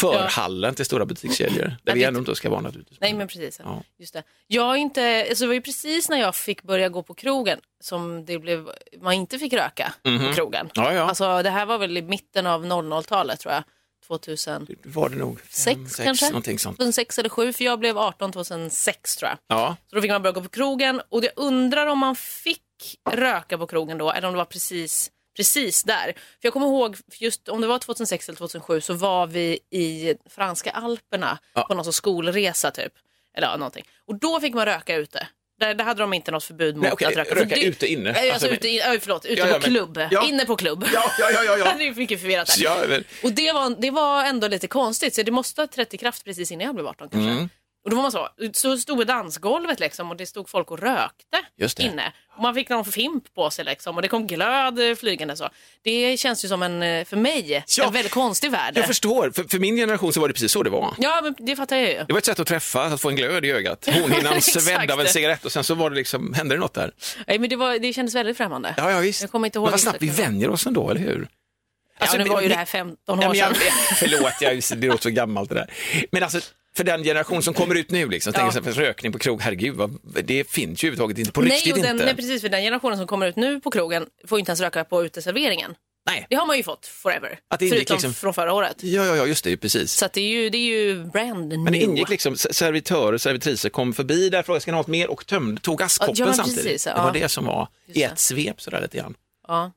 Speaker 1: förhallen till stora butikskedjor. Där vi
Speaker 2: det-
Speaker 1: ändå inte ska vara naturligtvis.
Speaker 2: Nej, men precis.
Speaker 1: Ja.
Speaker 2: Just det. Jag är inte, alltså det var ju precis när jag fick börja gå på krogen som det blev, man inte fick röka på krogen.
Speaker 1: Mhm. Ja, ja.
Speaker 2: Alltså, det här var väl i mitten av 00-talet tror jag. 2000.
Speaker 1: var det nog.
Speaker 2: Sex,
Speaker 1: fem,
Speaker 2: kanske?
Speaker 1: Någonting sånt.
Speaker 2: 2006 eller 7, för jag blev 18 2006 tror jag.
Speaker 1: Ja.
Speaker 2: Så då fick man börja gå på krogen och jag undrar om man fick röka på krogen då eller om det var precis, precis där. För jag kommer ihåg, just om det var 2006 eller 2007 så var vi i franska alperna
Speaker 1: Ja.
Speaker 2: på någon sån skolresa typ. Eller ja, någonting. Och då fick man röka ute. Där, där hade de inte något förbud mot
Speaker 1: Nej, okej,
Speaker 2: att röka.
Speaker 1: röka
Speaker 2: För
Speaker 1: ute, inne.
Speaker 2: Eh, Alltså,
Speaker 1: Alltså, men-
Speaker 2: ute, in, oj, förlåt, ute
Speaker 1: Ja, ja,
Speaker 2: på
Speaker 1: men-
Speaker 2: klubb.
Speaker 1: Ja.
Speaker 2: Inne på klubb.
Speaker 1: Ja, ja, ja, ja, ja.
Speaker 2: [laughs] det är mycket förvirrat där.
Speaker 1: Ja, men-
Speaker 2: Och det var, det var ändå lite konstigt, så det måste ha trätt i kraft precis innan jag blev 18 kanske.
Speaker 1: Mm.
Speaker 2: Och då var man så, så stod dansgolvet liksom och det stod folk och rökte
Speaker 1: Just det.
Speaker 2: inne. Och man fick någon fimp på sig liksom och det kom glöd eh, flygande så. Det känns ju som en, eh, för mig,
Speaker 1: Ja.
Speaker 2: en väldigt konstig värld.
Speaker 1: Jag förstår, för, för min generation så var det precis så det var.
Speaker 2: Ja, men det fattar jag ju.
Speaker 1: Det var ett sätt att träffas, att få en glöd i ögat. Hon innan
Speaker 2: Exakt.
Speaker 1: svedd av en cigarett och sen så var det liksom, hände det något där?
Speaker 2: Nej, men det, var, det kändes väldigt främmande.
Speaker 1: Ja, ja visst.
Speaker 2: Jag kommer inte ihåg
Speaker 1: Men vad
Speaker 2: exakt
Speaker 1: snabbt vi
Speaker 2: hur det var.
Speaker 1: vänjer oss ändå, eller hur? Alltså,
Speaker 2: ja, nu
Speaker 1: men-
Speaker 2: var ju det här 15 år
Speaker 1: Nej, men jag,
Speaker 2: sedan.
Speaker 1: förlåt, jag, det låter så gammalt det där. Men alltså, för den generation som kommer ut nu, liksom,
Speaker 2: Ja.
Speaker 1: tänker så här, för rökning på krog, herregud, vad, det finns ju överhuvudtaget inte, [laughs] på riktigt
Speaker 2: nej, och den,
Speaker 1: inte.
Speaker 2: nej, precis, för den generationen som kommer ut nu på krogen får ju inte ens röka på uteserveringen.
Speaker 1: Nej.
Speaker 2: Det har man ju fått forever,
Speaker 1: Att det ingick
Speaker 2: förutom
Speaker 1: liksom-
Speaker 2: från förra året.
Speaker 1: Ja, ja, ja, just det, precis.
Speaker 2: Så att det, är ju, det är ju brand new.
Speaker 1: Men det ingick liksom, s- servitörer och servitriser kom förbi där frågade ska ni ha något mer och tömde, tog askkoppen
Speaker 2: Ja, men precis,
Speaker 1: samtidigt.
Speaker 2: ja.
Speaker 1: Det var det som var i
Speaker 2: Just
Speaker 1: ett svep sådär lite grann.
Speaker 2: Ja,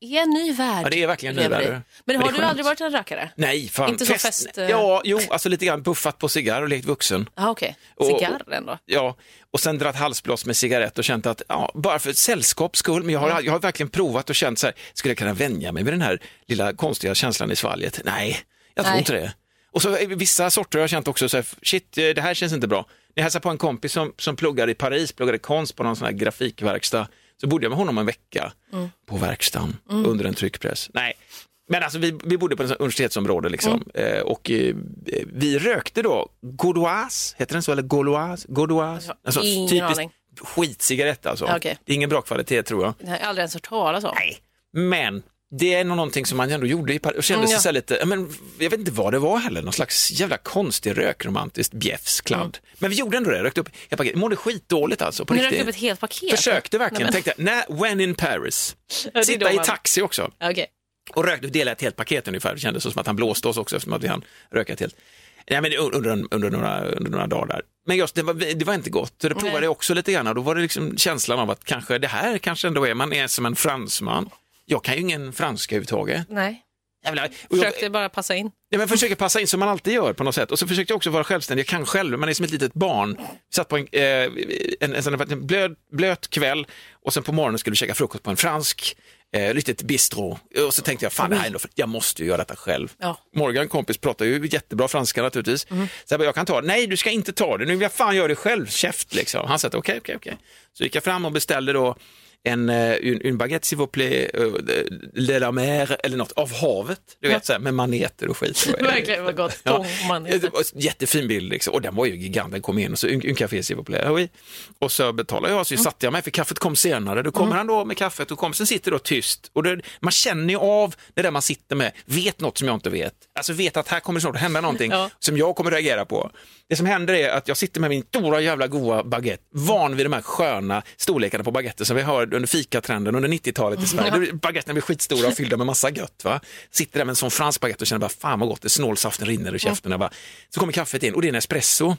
Speaker 2: det är en ny värld.
Speaker 1: Ja, det är verkligen
Speaker 2: vi
Speaker 1: en ny
Speaker 2: lever i.
Speaker 1: värld. Men
Speaker 2: Men har
Speaker 1: det är
Speaker 2: du
Speaker 1: skönt.
Speaker 2: aldrig varit en rökare?
Speaker 1: Nej, fan.
Speaker 2: Inte så fest, eh.
Speaker 1: Ja, jo, alltså lite grann puffat på cigarr och lekt vuxen.
Speaker 2: Ja, okej.
Speaker 1: Och-
Speaker 2: Cigarr ändå.
Speaker 1: Ja, och sen dratt halsblås med cigarett och känt att, ja, bara för ett sällskaps skull, men jag har, jag har verkligen provat och känt så här, skulle jag kunna vänja mig med den här lilla konstiga känslan i svalget? Nej, jag tror
Speaker 2: Nej.
Speaker 1: inte det. Och så eh, vissa sorter har jag känt också så här, shit, eh, det här känns inte bra. När jag hälsade på en kompis som, som pluggade i Paris, pluggade konst på någon sån här grafikverkstad, så bodde jag med honom en vecka på verkstaden under en tryckpress. Nej, Men alltså vi, vi bodde på ett universitetsområde liksom.
Speaker 2: Mm.
Speaker 1: Eh, och eh, vi rökte då Gauloise, heter den så eller Gauloise? Gauloise? Alltså,
Speaker 2: Jag har ingen aning.
Speaker 1: skitcigarett alltså.
Speaker 2: Ja, okej.
Speaker 1: Det är ingen bra kvalitet tror jag.
Speaker 2: Det har jag aldrig ens hört talas om.
Speaker 1: Nej, men det är nog någonting som man ändå gjorde i Paris och kände
Speaker 2: Mm,
Speaker 1: sig
Speaker 2: ja.
Speaker 1: så här lite, ja, men jag vet inte vad det var heller, någon slags jävla konstig rökromantiskt bjäfs, kladd. Men vi gjorde ändå det, rökte upp, jag paket- mådde skitdåligt alltså på
Speaker 2: Mm. Ni
Speaker 1: riktigt.
Speaker 2: rökte upp ett helt paket.
Speaker 1: Försökte verkligen, tänkte nej, when in Paris.
Speaker 2: Ja, det är
Speaker 1: Sitta
Speaker 2: då
Speaker 1: i
Speaker 2: man-
Speaker 1: taxi också
Speaker 2: Ja, Okej.
Speaker 1: och rökte, delade ett helt paket ungefär, det kändes som att han blåste oss också eftersom att vi hann röka ett helt. Nej, men under, under, några, under några dagar där. Men just det var, det var inte gott, så det provade
Speaker 2: Nej.
Speaker 1: jag också lite grann och då var det liksom känslan av att kanske det här kanske ändå är, man är som en fransman. Jag kan ju ingen franska överhuvudtaget.
Speaker 2: Nej,
Speaker 1: Jag, vill, och jag,
Speaker 2: försökte bara passa in.
Speaker 1: Ja, men försöker passa in som man alltid gör på något sätt. Och så försökte jag också vara självständig. Jag kan själv, man är som ett litet barn. Satt på en, eh, en, en, sån- en blöd, blöt kväll och sen på morgonen skulle vi käka frukost på en fransk eh, litet bistro. Och så tänkte jag, fan det här är ändå, för- jag måste ju göra detta själv.
Speaker 2: Ja.
Speaker 1: Morgan, kompis, pratar ju jättebra franska naturligtvis. Så jag bara, jag kan ta det. Nej, du ska inte ta det. Nu vill jag fan göra det själv. Käft liksom. Han sa, okej, okej, okej. Så gick jag fram och beställde då en, eh, une, une baguette s'il vous plaît, euh, de la mer eller något, av havet. Du vet, så här, med maneter och skit.
Speaker 2: Verkligen, vad gott.
Speaker 1: [laughs]
Speaker 2: [laughs]
Speaker 1: Ja.
Speaker 2: Tom, man
Speaker 1: Det
Speaker 2: heter.
Speaker 1: var en Jättefin bild liksom. och den var ju gigant, den kom in och så un, un café s'il vous plaît. Ah, oui. Och så betalade jag, så
Speaker 2: Mm.
Speaker 1: satte jag mig för kaffet kom senare. Då kommer han då med kaffet och kom, sen sitter då tyst och det, man känner ju av det där man sitter med, vet något som jag inte vet. Alltså vet att här kommer snart att hända någonting
Speaker 2: Ja.
Speaker 1: som jag kommer reagera på. Det som händer är att jag sitter med min stora jävla goa baguette, van vid de här sköna storlekarna på baguetter som vi har under fikatrenden under 90-talet i Sverige. Mm. Baguetterna blir skitstora och fyllda med massa gött. Va? Sitter där med en sån fransk baguette och känner bara fan vad gott, det snålsaften rinner ur käften. Mm. Bara, så kommer kaffet in och det är en espresso.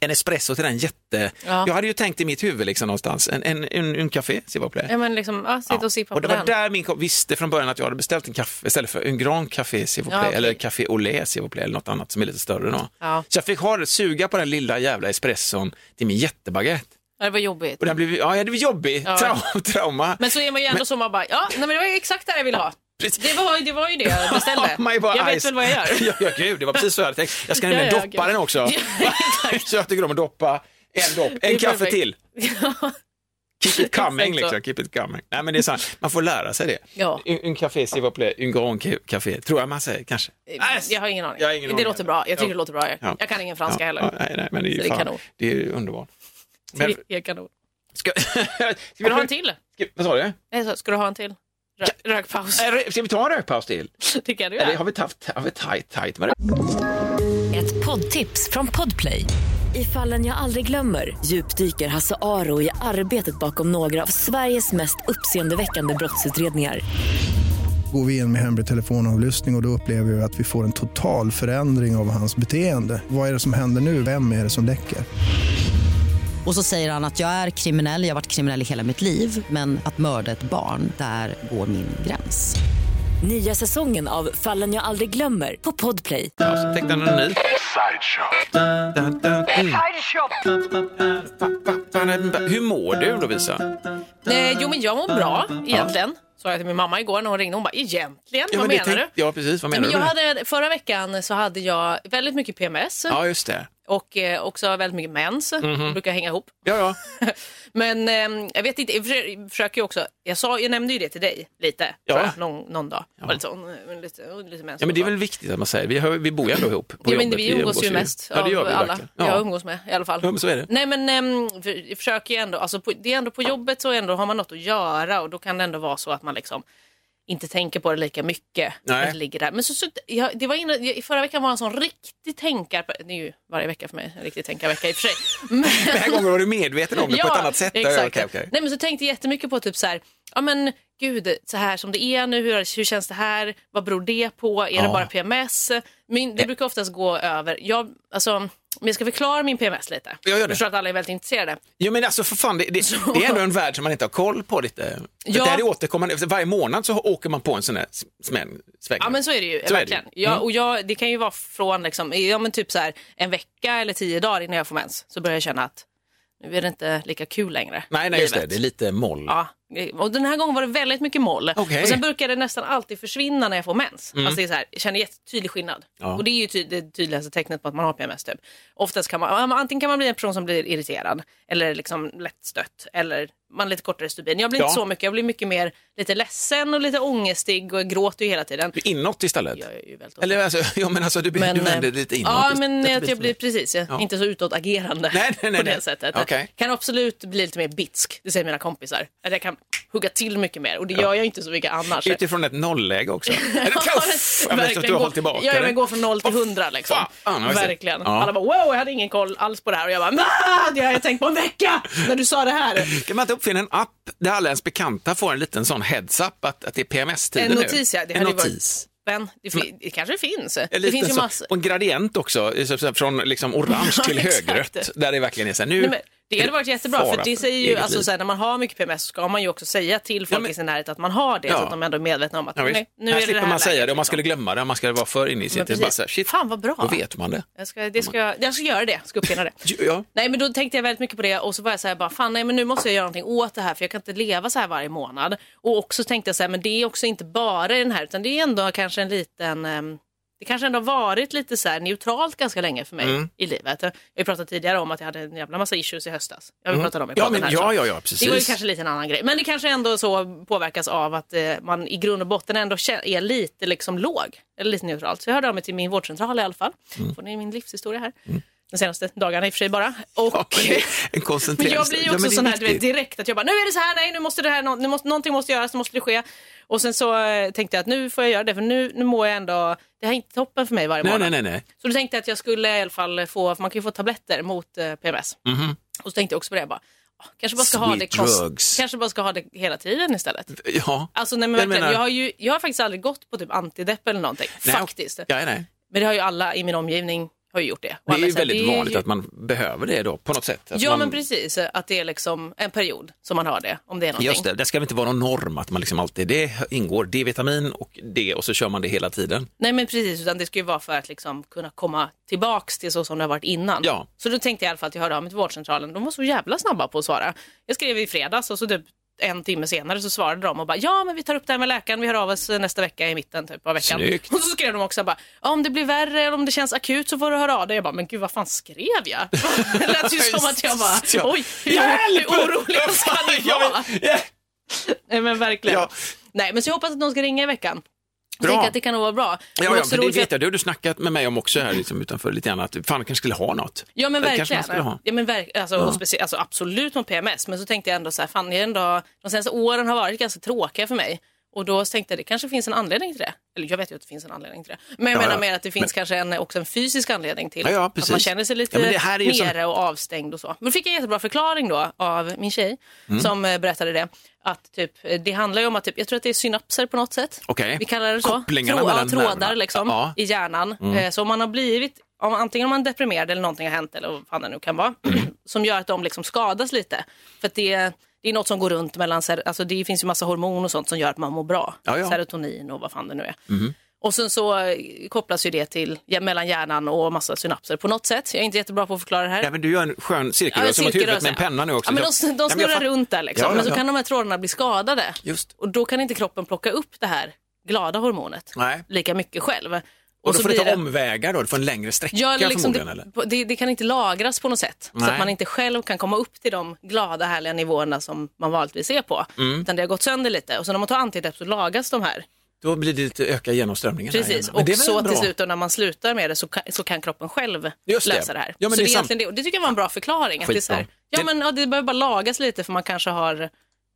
Speaker 1: En espresso till den jätte...
Speaker 2: Ja.
Speaker 1: Jag hade ju tänkt i mitt huvud liksom någonstans, en, en, en, en café, s'il vous plaît.
Speaker 2: Ja, men liksom, ja, sitta och sippa
Speaker 1: Och det
Speaker 2: på
Speaker 1: var
Speaker 2: den.
Speaker 1: där min kom- visste från början att jag hade beställt en kaffe istället för en Grand Café s'il vous
Speaker 2: Ja,
Speaker 1: plaît,
Speaker 2: okej.
Speaker 1: eller Café Olé s'il vous plaît, eller något annat som är lite större då.
Speaker 2: Ja.
Speaker 1: Så jag fick ha det, suga på den lilla jävla espresson till min jättebaguette.
Speaker 2: Ja, det var jobbigt.
Speaker 1: Och den blev, ja, det var jobbig,
Speaker 2: Ja.
Speaker 1: Trau- trauma.
Speaker 2: Men så är man ju ändå så, man bara, ja, nej, men det var ju exakt det här jag ville ha.
Speaker 1: Precis.
Speaker 2: Det var, ju- det var ju det
Speaker 1: [laughs]
Speaker 2: jag beställde.
Speaker 1: Man bara,
Speaker 2: jag vet
Speaker 1: "Ice."
Speaker 2: väl vad jag gör.
Speaker 1: [laughs] ja, ja, gud, det var precis så jag hade tänkt. Jag ska
Speaker 2: [laughs] Ja,
Speaker 1: nämligen
Speaker 2: ja,
Speaker 1: doppa
Speaker 2: gud.
Speaker 1: den också. [laughs] så jag tycker om att doppa. En dopp, en
Speaker 2: är
Speaker 1: kaffe
Speaker 2: perfekt.
Speaker 1: till. Keep it coming,
Speaker 2: [laughs] Exakt så.
Speaker 1: liksom. Keep it coming. Nej, men det är sant. Man får lära sig det.
Speaker 2: Ja.
Speaker 1: Un, un café, s'il vous plaît, un grand ca- café, tror jag man säger kanske.
Speaker 2: Eh, Jag har ingen aning.
Speaker 1: Jag har ingen
Speaker 2: det
Speaker 1: aning.
Speaker 2: låter bra. Jag tycker
Speaker 1: Ja.
Speaker 2: det låter bra. Jag,
Speaker 1: Ja.
Speaker 2: jag kan ingen franska heller.
Speaker 1: Ja, nej, nej, men det är
Speaker 2: Så
Speaker 1: ju
Speaker 2: det är
Speaker 1: fan,
Speaker 2: kanon.
Speaker 1: det är ju underbart. Men,
Speaker 2: Det är kanon.
Speaker 1: ska, ska vi
Speaker 2: [laughs] Ska du ha
Speaker 1: ha
Speaker 2: en till? Äh,
Speaker 1: Vad sa du?
Speaker 2: Nej, så, ska du ha en till? Rö rökpaus.
Speaker 1: Äh, rö- Ska vi ta en rökpaus till?
Speaker 2: Det kan du
Speaker 1: Eller har
Speaker 2: göra.
Speaker 1: vi haft har vi tajt, tajt med det?
Speaker 3: Ett poddtips från Podplay. I fallen jag aldrig glömmer djupdyker Hasse Aro i arbetet bakom några av Sveriges mest uppseendeväckande brottsutredningar.
Speaker 4: Går vi in med hemlig telefonavlyssning och, och då upplever vi att vi får en total förändring av hans beteende. Vad är det som händer nu? Vem är det som läcker?
Speaker 5: Och så säger han att jag är kriminell, jag har varit kriminell i hela mitt liv men att mörda ett barn, där går min gräns.
Speaker 3: Nya säsongen av Fallen jag aldrig glömmer på Podplay.
Speaker 1: Ja, så täckte han en ny. Hur mår du Lovisa?
Speaker 2: Nej, jo, men jag mår bra egentligen. Sa jag till min mamma igår när hon ringde. Hon bara, egentligen?
Speaker 1: Ja,
Speaker 2: vad
Speaker 1: men det
Speaker 2: menar
Speaker 1: tänk-
Speaker 2: du?
Speaker 1: Ja, precis. Vad
Speaker 2: Nej,
Speaker 1: menar
Speaker 2: men
Speaker 1: du?
Speaker 2: jag
Speaker 1: med det?
Speaker 2: hade, förra veckan så hade jag väldigt mycket PMS
Speaker 1: Ja, Mhm. just det.
Speaker 2: och eh, också väldigt mycket mens. De brukar hänga ihop.
Speaker 1: Ja, ja.
Speaker 2: Men ehm, jag vet inte, jag försö- försöker ju också, jag, sa, jag nämnde ju det till dig lite,
Speaker 1: Ja.
Speaker 2: tror jag, någon, någon dag. Var det så, eh, lite, och lite mens
Speaker 1: ja,
Speaker 2: och
Speaker 1: men det är
Speaker 2: så.
Speaker 1: väl viktigt att man säger. Vi, hör, vi bor ju ändå ihop på
Speaker 2: Jo, men
Speaker 1: jobbet.
Speaker 2: vi umgås ju mest
Speaker 1: Ja, det gör
Speaker 2: av
Speaker 1: vi
Speaker 2: alla
Speaker 1: verkligen.
Speaker 2: jag
Speaker 1: Ja.
Speaker 2: umgås med i alla fall.
Speaker 1: Ja, men så
Speaker 2: [laughs]
Speaker 1: är det.
Speaker 2: Nej men ehm, för- jag försöker ju ändå, alltså på, det är ändå på jobbet så ändå har man något att göra och då kan det ändå vara så att man liksom inte tänker på det lika mycket.
Speaker 1: Nej.
Speaker 2: När det ligger där. Men så, så, jag, det var inne, jag, i förra veckan var en sån riktig tänkar... Det är ju varje vecka för mig en riktig tänkarvecka i och för sig.
Speaker 1: [laughs]
Speaker 2: Men-
Speaker 1: Den här gången var du medveten om det på ett annat sätt.
Speaker 2: Exakt.
Speaker 1: Okej, okej.
Speaker 2: Nej, men så tänkte jag jättemycket på typ så här, ja men gud, så här som det är nu, hur, hur känns det här, vad beror det på, är det
Speaker 1: Ja.
Speaker 2: bara PMS? Min, det brukar oftast gå över, jag, alltså, men jag ska förklara min PMS lite.
Speaker 1: Ja, gör det.
Speaker 2: Jag förstår att alla är väldigt intresserade.
Speaker 1: Jo men alltså för fan, det, det, det är ändå en värld som man inte har koll på lite.
Speaker 2: Ja.
Speaker 1: Ja. Det här är återkommande, varje månad så åker man på en sån här smäll, sväng.
Speaker 2: Ja men så är det ju,
Speaker 1: Så är det
Speaker 2: verkligen.
Speaker 1: ju.
Speaker 2: Ja,
Speaker 1: Mm.
Speaker 2: och jag, det kan ju vara från liksom, ja, men typ så här, en vecka eller tio dagar innan jag får mens, så börjar jag känna att nu är det inte lika kul längre.
Speaker 1: nej, nej, just det,
Speaker 2: livet.
Speaker 1: det är lite moll.
Speaker 2: Ja, Eh, Och den här gången var det väldigt mycket moll.
Speaker 1: Okej.
Speaker 2: Och sen brukar det nästan alltid försvinna när jag får mens.
Speaker 1: Mm.
Speaker 2: Alltså det är så här, jag känner jättetydlig skillnad.
Speaker 1: Ja.
Speaker 2: Och det är ju ty- det tydligaste tecknet på att man har PMS. Typ. Oftast kan man, antingen kan man bli en person som blir irriterad eller liksom lättstött eller man har lite kortare stubin. Jag blir
Speaker 1: Ja.
Speaker 2: inte så mycket, jag blir mycket mer lite ledsen och lite ångestig och jag gråter ju hela tiden.
Speaker 1: Du är Inåt istället?
Speaker 2: Jag är ju väldigt
Speaker 1: Eller alltså, [laughs] ja, men alltså du, men, du vänder
Speaker 2: eh,
Speaker 1: lite inåt.
Speaker 2: Ja,
Speaker 1: istället.
Speaker 2: men att jag typ blir precis, jag,
Speaker 1: Ja.
Speaker 2: inte så utåtagerande
Speaker 1: Nej, nej, nej,
Speaker 2: på det
Speaker 1: nej.
Speaker 2: sättet.
Speaker 1: Okej.
Speaker 2: Kan absolut bli lite mer bitsk, det säger mina kompisar. Att jag kan hugga till mycket mer och det gör jag inte så mycket annars. [laughs]
Speaker 1: Utifrån ett nollläge också. Är du tuff? Jag vet att du
Speaker 2: Verkligen
Speaker 1: har
Speaker 2: gå-
Speaker 1: hållit tillbaka
Speaker 2: Ja,
Speaker 1: dig.
Speaker 2: men gå från noll till hundra liksom.
Speaker 1: fan, har jag sett.
Speaker 2: Verkligen.
Speaker 1: Ja.
Speaker 2: Alla bara wow, jag hade ingen koll alls på det här och jag bara nah, det har jag tänkt på en vecka när du sa det här.
Speaker 1: Kan man inte uppfinna en app där alla ens bekanta får en liten sån heads-up att, att det är PMS-tider
Speaker 2: En
Speaker 1: nu?
Speaker 2: notis, ja. Det
Speaker 1: en
Speaker 2: hade ju varit-
Speaker 1: notis.
Speaker 2: Men det, fin- det kanske finns.
Speaker 1: En
Speaker 2: det
Speaker 1: liten
Speaker 2: finns ju
Speaker 1: sån-
Speaker 2: massor.
Speaker 1: Och en gradient också, i- så- så- från liksom orange
Speaker 2: Ja,
Speaker 1: till
Speaker 2: [laughs] exakt.
Speaker 1: högrött. Där det verkligen är så här, nu
Speaker 2: Nej, men det
Speaker 1: är
Speaker 2: hade varit jättebra
Speaker 1: fara
Speaker 2: för det säger ju,
Speaker 1: eget
Speaker 2: alltså,
Speaker 1: liv.
Speaker 2: så här, när man har mycket PMS så ska man ju också säga till folk
Speaker 1: men-
Speaker 2: i sin närhet att man har det
Speaker 1: Ja.
Speaker 2: så att de ändå är medvetna om att
Speaker 1: Ja,
Speaker 2: nej,
Speaker 1: visst.
Speaker 2: nu
Speaker 1: här
Speaker 2: är det det
Speaker 1: slipper
Speaker 2: här
Speaker 1: man säga det, om man
Speaker 2: läget,
Speaker 1: skulle glömma det, om man skulle vara för inne i
Speaker 2: liksom.
Speaker 1: sitt.
Speaker 2: Men
Speaker 1: Det är
Speaker 2: precis.
Speaker 1: bara så här, shit,
Speaker 2: Fan vad bra.
Speaker 1: då vet man det.
Speaker 2: Jag ska, det ska, jag ska göra det, ska uppfinna det.
Speaker 1: Ja.
Speaker 2: Nej men då tänkte jag väldigt mycket på det och så var jag så här bara fan nej men nu måste jag göra någonting åt det här för jag kan inte leva så här varje månad. Och också tänkte jag så här men det är också inte bara den här utan det är ändå kanske en liten ehm, det kanske ändå har varit lite så här neutralt ganska länge för mig
Speaker 1: Mm.
Speaker 2: i livet. Jag har ju pratat tidigare om att jag hade en jävla massa issues i höstas. Jag har ju
Speaker 1: Mm.
Speaker 2: pratat om i
Speaker 1: Ja,
Speaker 2: podden
Speaker 1: men,
Speaker 2: här. så.
Speaker 1: ja, ja, ja,
Speaker 2: Det var ju
Speaker 1: precis.
Speaker 2: kanske lite en annan grej. Men det kanske ändå så påverkas av att eh, man i grund och botten ändå kä- är lite liksom låg. Eller lite neutralt. Så jag hörde av mig till min vårdcentral i alla fall.
Speaker 1: Mm.
Speaker 2: Får ni min livshistoria här. De senaste dagarna i och för sig bara. Och,
Speaker 1: Ja, men det är [laughs] en
Speaker 2: [laughs] men
Speaker 1: koncentrerad
Speaker 2: jag blir ju
Speaker 1: Ja, men
Speaker 2: också
Speaker 1: det är
Speaker 2: sån här du vet,
Speaker 1: viktigt.
Speaker 2: direkt att jag bara nu är det så här, nej nu måste det här, nå- nu måste, någonting måste göras, nu måste det ske. Och sen så eh, tänkte jag att nu får jag göra det för nu, nu mår jag ändå, det här är inte toppen för mig varje
Speaker 1: Nej,
Speaker 2: månad.
Speaker 1: nej, nej. nej.
Speaker 2: Så då tänkte jag att jag skulle i alla fall få, för man kan ju få tabletter mot eh, PMS.
Speaker 1: Mhm.
Speaker 2: Och så tänkte jag också på det, jag bara, ah, kanske bara ska ha
Speaker 1: Sweet
Speaker 2: det kost-
Speaker 1: drugs.
Speaker 2: kanske bara ska ha det hela tiden istället.
Speaker 1: Ja.
Speaker 2: Alltså nej men
Speaker 1: Jag
Speaker 2: verkligen, jag,
Speaker 1: menar-
Speaker 2: har ju, jag har faktiskt aldrig gått på typ antidepp eller någonting,
Speaker 1: Nej,
Speaker 2: faktiskt.
Speaker 1: Ja, nej.
Speaker 2: Men det har ju alla i min omgivning har ju gjort det. Och
Speaker 1: Det är
Speaker 2: alla
Speaker 1: ju
Speaker 2: säger,
Speaker 1: väldigt
Speaker 2: det är
Speaker 1: vanligt
Speaker 2: ju-
Speaker 1: att man behöver det då på något sätt. Att
Speaker 2: Ja
Speaker 1: man...
Speaker 2: men precis, att det är liksom en period som man har det, om det är någonting.
Speaker 1: Just det, det ska väl inte vara någon norm att man liksom alltid, det ingår D-vitamin och det och så kör man det hela tiden.
Speaker 2: Nej men precis, utan det ska ju vara för att liksom kunna komma tillbaks till så som det har varit innan.
Speaker 1: Ja.
Speaker 2: Så då tänkte jag i alla fall att jag hörde av mig till vårdcentralen. De var så jävla snabba på att svara. Jag skrev i fredags och så typ en timme senare så svarade de och bara ja men vi tar upp det här med läkaren, vi hör av oss nästa vecka i mitten typ av veckan.
Speaker 1: Snyggt.
Speaker 2: Och så skrev de också bara ja, om det blir värre eller om det känns akut så får du höra av dig. Jag bara men gud vad fan skrev jag?
Speaker 1: [laughs]
Speaker 2: Det lät ju som att jag bara
Speaker 1: Ja.
Speaker 2: oj hur, hur orolig jag ska ni
Speaker 1: Ja, men-
Speaker 2: vara?
Speaker 1: ja.
Speaker 2: Nej men verkligen.
Speaker 1: Ja.
Speaker 2: Nej men så jag hoppas att de ska ringa i veckan.
Speaker 1: Bra.
Speaker 2: Jag tänker att det kan nog vara bra.
Speaker 1: Ja,
Speaker 2: Men
Speaker 1: ja,
Speaker 2: också
Speaker 1: för det
Speaker 2: roligt att-
Speaker 1: vet jag, det har du snackat med mig om också här liksom, utanför lite grann, att fan jag kanske skulle ha något.
Speaker 2: Ja men
Speaker 1: Det kanske man
Speaker 2: verkligen.
Speaker 1: skulle ha.
Speaker 2: Ja, men verk alltså, och specie- alltså, absolut mot PMS men så tänkte jag ändå så här, fan jag är ändå, de senaste åren har varit ganska tråkiga för mig. Och då tänkte jag det kanske finns en anledning till det. Eller jag vet ju att det finns en anledning till det. Men jag
Speaker 1: Ja,
Speaker 2: menar
Speaker 1: ja.
Speaker 2: mer att det finns kanske en, också en fysisk anledning till
Speaker 1: Ja, ja,
Speaker 2: att
Speaker 1: precis.
Speaker 2: man känner sig lite
Speaker 1: Ja, men det här är ju
Speaker 2: nere
Speaker 1: sån-
Speaker 2: och avstängd och så. Men då fick jag en jättebra förklaring då av min tjej
Speaker 1: Mm.
Speaker 2: som eh, berättade det. Att typ, eh, det handlar ju om att typ, jag tror att det är synapser på något sätt.
Speaker 1: Okej.
Speaker 2: Vi kallar det så.
Speaker 1: Kopplingarna
Speaker 2: Trå- ja,
Speaker 1: mellan
Speaker 2: trådar
Speaker 1: nerverna.
Speaker 2: liksom
Speaker 1: Ja.
Speaker 2: i hjärnan.
Speaker 1: Mm.
Speaker 2: Eh, Så om man har blivit, om, antingen om man är deprimerad eller någonting har hänt eller vad fan det nu kan vara, [clears throat] som gör att de liksom skadas lite. För att det, det är något som går runt mellan, ser- alltså det finns ju massa hormon och sånt som gör att man mår bra.
Speaker 1: Ja, Mhm. ja.
Speaker 2: Serotonin och vad fan det nu är. Och sen så eh, kopplas ju det till ja, mellan hjärnan och massa synapser på något sätt. Jag är inte jättebra på att förklara det här.
Speaker 1: Ja, men du gör en skön
Speaker 2: Ja, en
Speaker 1: cirkelrörelse mot huvudet med en
Speaker 2: cirkelrörelse.
Speaker 1: penna nu också.
Speaker 2: Ja, men
Speaker 1: Jag-
Speaker 2: de, de
Speaker 1: Ja, men jag
Speaker 2: snurrar
Speaker 1: fatt-
Speaker 2: runt där liksom.
Speaker 1: Ja, ja,
Speaker 2: men så
Speaker 1: ja.
Speaker 2: kan de här trådarna bli skadade.
Speaker 1: Just.
Speaker 2: Och då kan inte kroppen plocka upp det här glada hormonet
Speaker 1: Nej.
Speaker 2: lika mycket själv. Och,
Speaker 1: Och då
Speaker 2: så
Speaker 1: får du
Speaker 2: blir
Speaker 1: ta
Speaker 2: det-
Speaker 1: omvägar då, du får en längre sträcka
Speaker 2: Ja, eller liksom
Speaker 1: förmodligen.
Speaker 2: det,
Speaker 1: eller?
Speaker 2: på- det, det kan inte lagras på något sätt. Så
Speaker 1: Nej.
Speaker 2: att man inte själv kan komma upp till de glada härliga nivåerna som man vanligtvis är på.
Speaker 1: Mm.
Speaker 2: Utan det har gått sönder lite. Och så när man tar antidepp så lagas de här.
Speaker 1: Då blir det lite öka genomströmningen. här
Speaker 2: Precis.
Speaker 1: igen. Men
Speaker 2: Och
Speaker 1: det är väl
Speaker 2: så
Speaker 1: bra.
Speaker 2: till slut då, när man slutar med det så kan, så kan kroppen själv
Speaker 1: Just det.
Speaker 2: lösa det, här.
Speaker 1: Ja, men
Speaker 2: så
Speaker 1: det är
Speaker 2: det, är
Speaker 1: sant.
Speaker 2: egentligen det, och det tycker jag var en bra förklaring. Att det, är så här,
Speaker 1: Skitbra.
Speaker 2: ja,
Speaker 1: Det-
Speaker 2: men, ja, det behöver bara lagas lite för man kanske har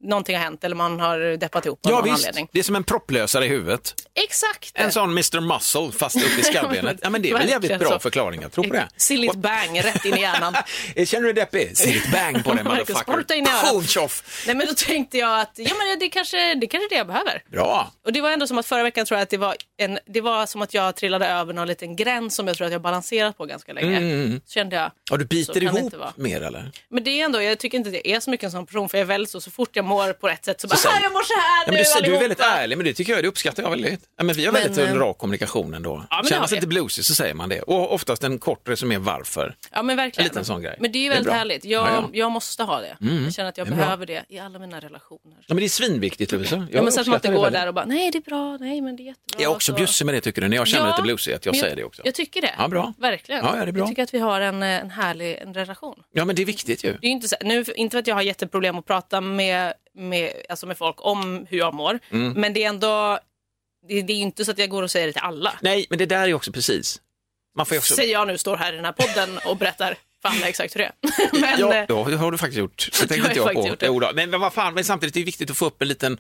Speaker 2: någonting har hänt eller man har deppat ihop av
Speaker 1: Ja,
Speaker 2: någon
Speaker 1: visst.
Speaker 2: anledning.
Speaker 1: Det är som en propplösare i huvudet.
Speaker 2: Exakt!
Speaker 1: En sån Mr Muscle fast upp
Speaker 2: [laughs]
Speaker 1: i skallbenet. Ja, men det är väl
Speaker 2: Verkligen
Speaker 1: jävligt bra
Speaker 2: så.
Speaker 1: förklaring, jag tror på det.
Speaker 2: Silly bang rätt in i hjärnan.
Speaker 1: Eh, [laughs] Känner du dig deppig? Säg ett bang
Speaker 2: [laughs]
Speaker 1: på den
Speaker 2: Marcus, spruta in i örat.
Speaker 1: motherfucker. Boom, tjoff.
Speaker 2: Nej men då tänkte jag att ja, men det, kanske, det kanske är det jag behöver.
Speaker 1: Bra.
Speaker 2: Och det var ändå som att förra veckan tror jag att det var en, det var som att jag trillade över någon liten gräns som jag tror att jag balanserat på ganska länge.
Speaker 1: Mm.
Speaker 2: Så kände jag,
Speaker 1: Ja, du
Speaker 2: Så
Speaker 1: biter
Speaker 2: kan det
Speaker 1: ihop
Speaker 2: inte vara.
Speaker 1: mer eller?
Speaker 2: men det är ändå, jag tycker inte att jag är så mycket en sån person för jag är väldigt så, så fort jag mår på rätt sätt så bara,
Speaker 1: säger-
Speaker 2: "Ah, jag mår så här
Speaker 1: Ja, men
Speaker 2: nu
Speaker 1: du, du är
Speaker 2: allihopa."
Speaker 1: väldigt ärlig, men det tycker jag det uppskattar jag väldigt. Ja, men vi har
Speaker 5: Men,
Speaker 1: väldigt
Speaker 5: eh,
Speaker 1: rak kommunikation ändå.
Speaker 2: men det
Speaker 1: Känner
Speaker 2: har
Speaker 1: man sig
Speaker 2: vi.
Speaker 1: lite bluesig så säger man det. Och oftast en kort resumé varför.
Speaker 2: Ja men verkligen.
Speaker 1: En liten sån grej.
Speaker 2: Men det är
Speaker 1: Det
Speaker 2: ju
Speaker 1: är
Speaker 2: väldigt
Speaker 1: bra.
Speaker 2: härligt. Jag,
Speaker 1: Ja, ja.
Speaker 2: jag måste ha det. Jag känner att jag
Speaker 1: Det är bra.
Speaker 2: behöver det i alla mina relationer.
Speaker 1: Ja, men det är svinviktigt Lovisa. Jag
Speaker 2: Ja, men så att man
Speaker 1: uppskattar
Speaker 2: inte
Speaker 1: det
Speaker 2: går
Speaker 1: väldigt.
Speaker 2: där och bara, nej det är bra, nej men det är jättebra.
Speaker 1: Jag är också
Speaker 2: Så-
Speaker 1: bjussig med det tycker du, när jag känner
Speaker 2: Ja,
Speaker 1: lite bluesig, att jag
Speaker 2: men
Speaker 1: säger det också.
Speaker 2: Jag tycker det.
Speaker 1: Ja, bra.
Speaker 2: Verkligen.
Speaker 1: Ja, ja, det är bra.
Speaker 2: Jag tycker att vi har en, eh, en härlig en relation.
Speaker 1: Ja, men det är viktigt ju.
Speaker 2: Det är ju inte, så, nu, inte för att jag har jätteproblem att prata med, med, alltså med folk om hur jag mår,
Speaker 1: Mm.
Speaker 2: men det är ändå, det, det är ju inte så att jag går och säger det till alla.
Speaker 1: Nej, men det där är också precis. Man får ju också...
Speaker 2: Säger jag nu, står här i den här podden och berättar för alla exakt hur det är. [laughs] Men,
Speaker 1: Ja,
Speaker 2: eh,
Speaker 1: ja, det har du faktiskt gjort. Det
Speaker 2: har
Speaker 1: tänkte
Speaker 2: [laughs] jag
Speaker 1: inte jag
Speaker 2: faktiskt
Speaker 1: på.
Speaker 2: gjort, ja.
Speaker 1: Jo, då. Men, men vad fan, men samtidigt är det viktigt att få upp en liten,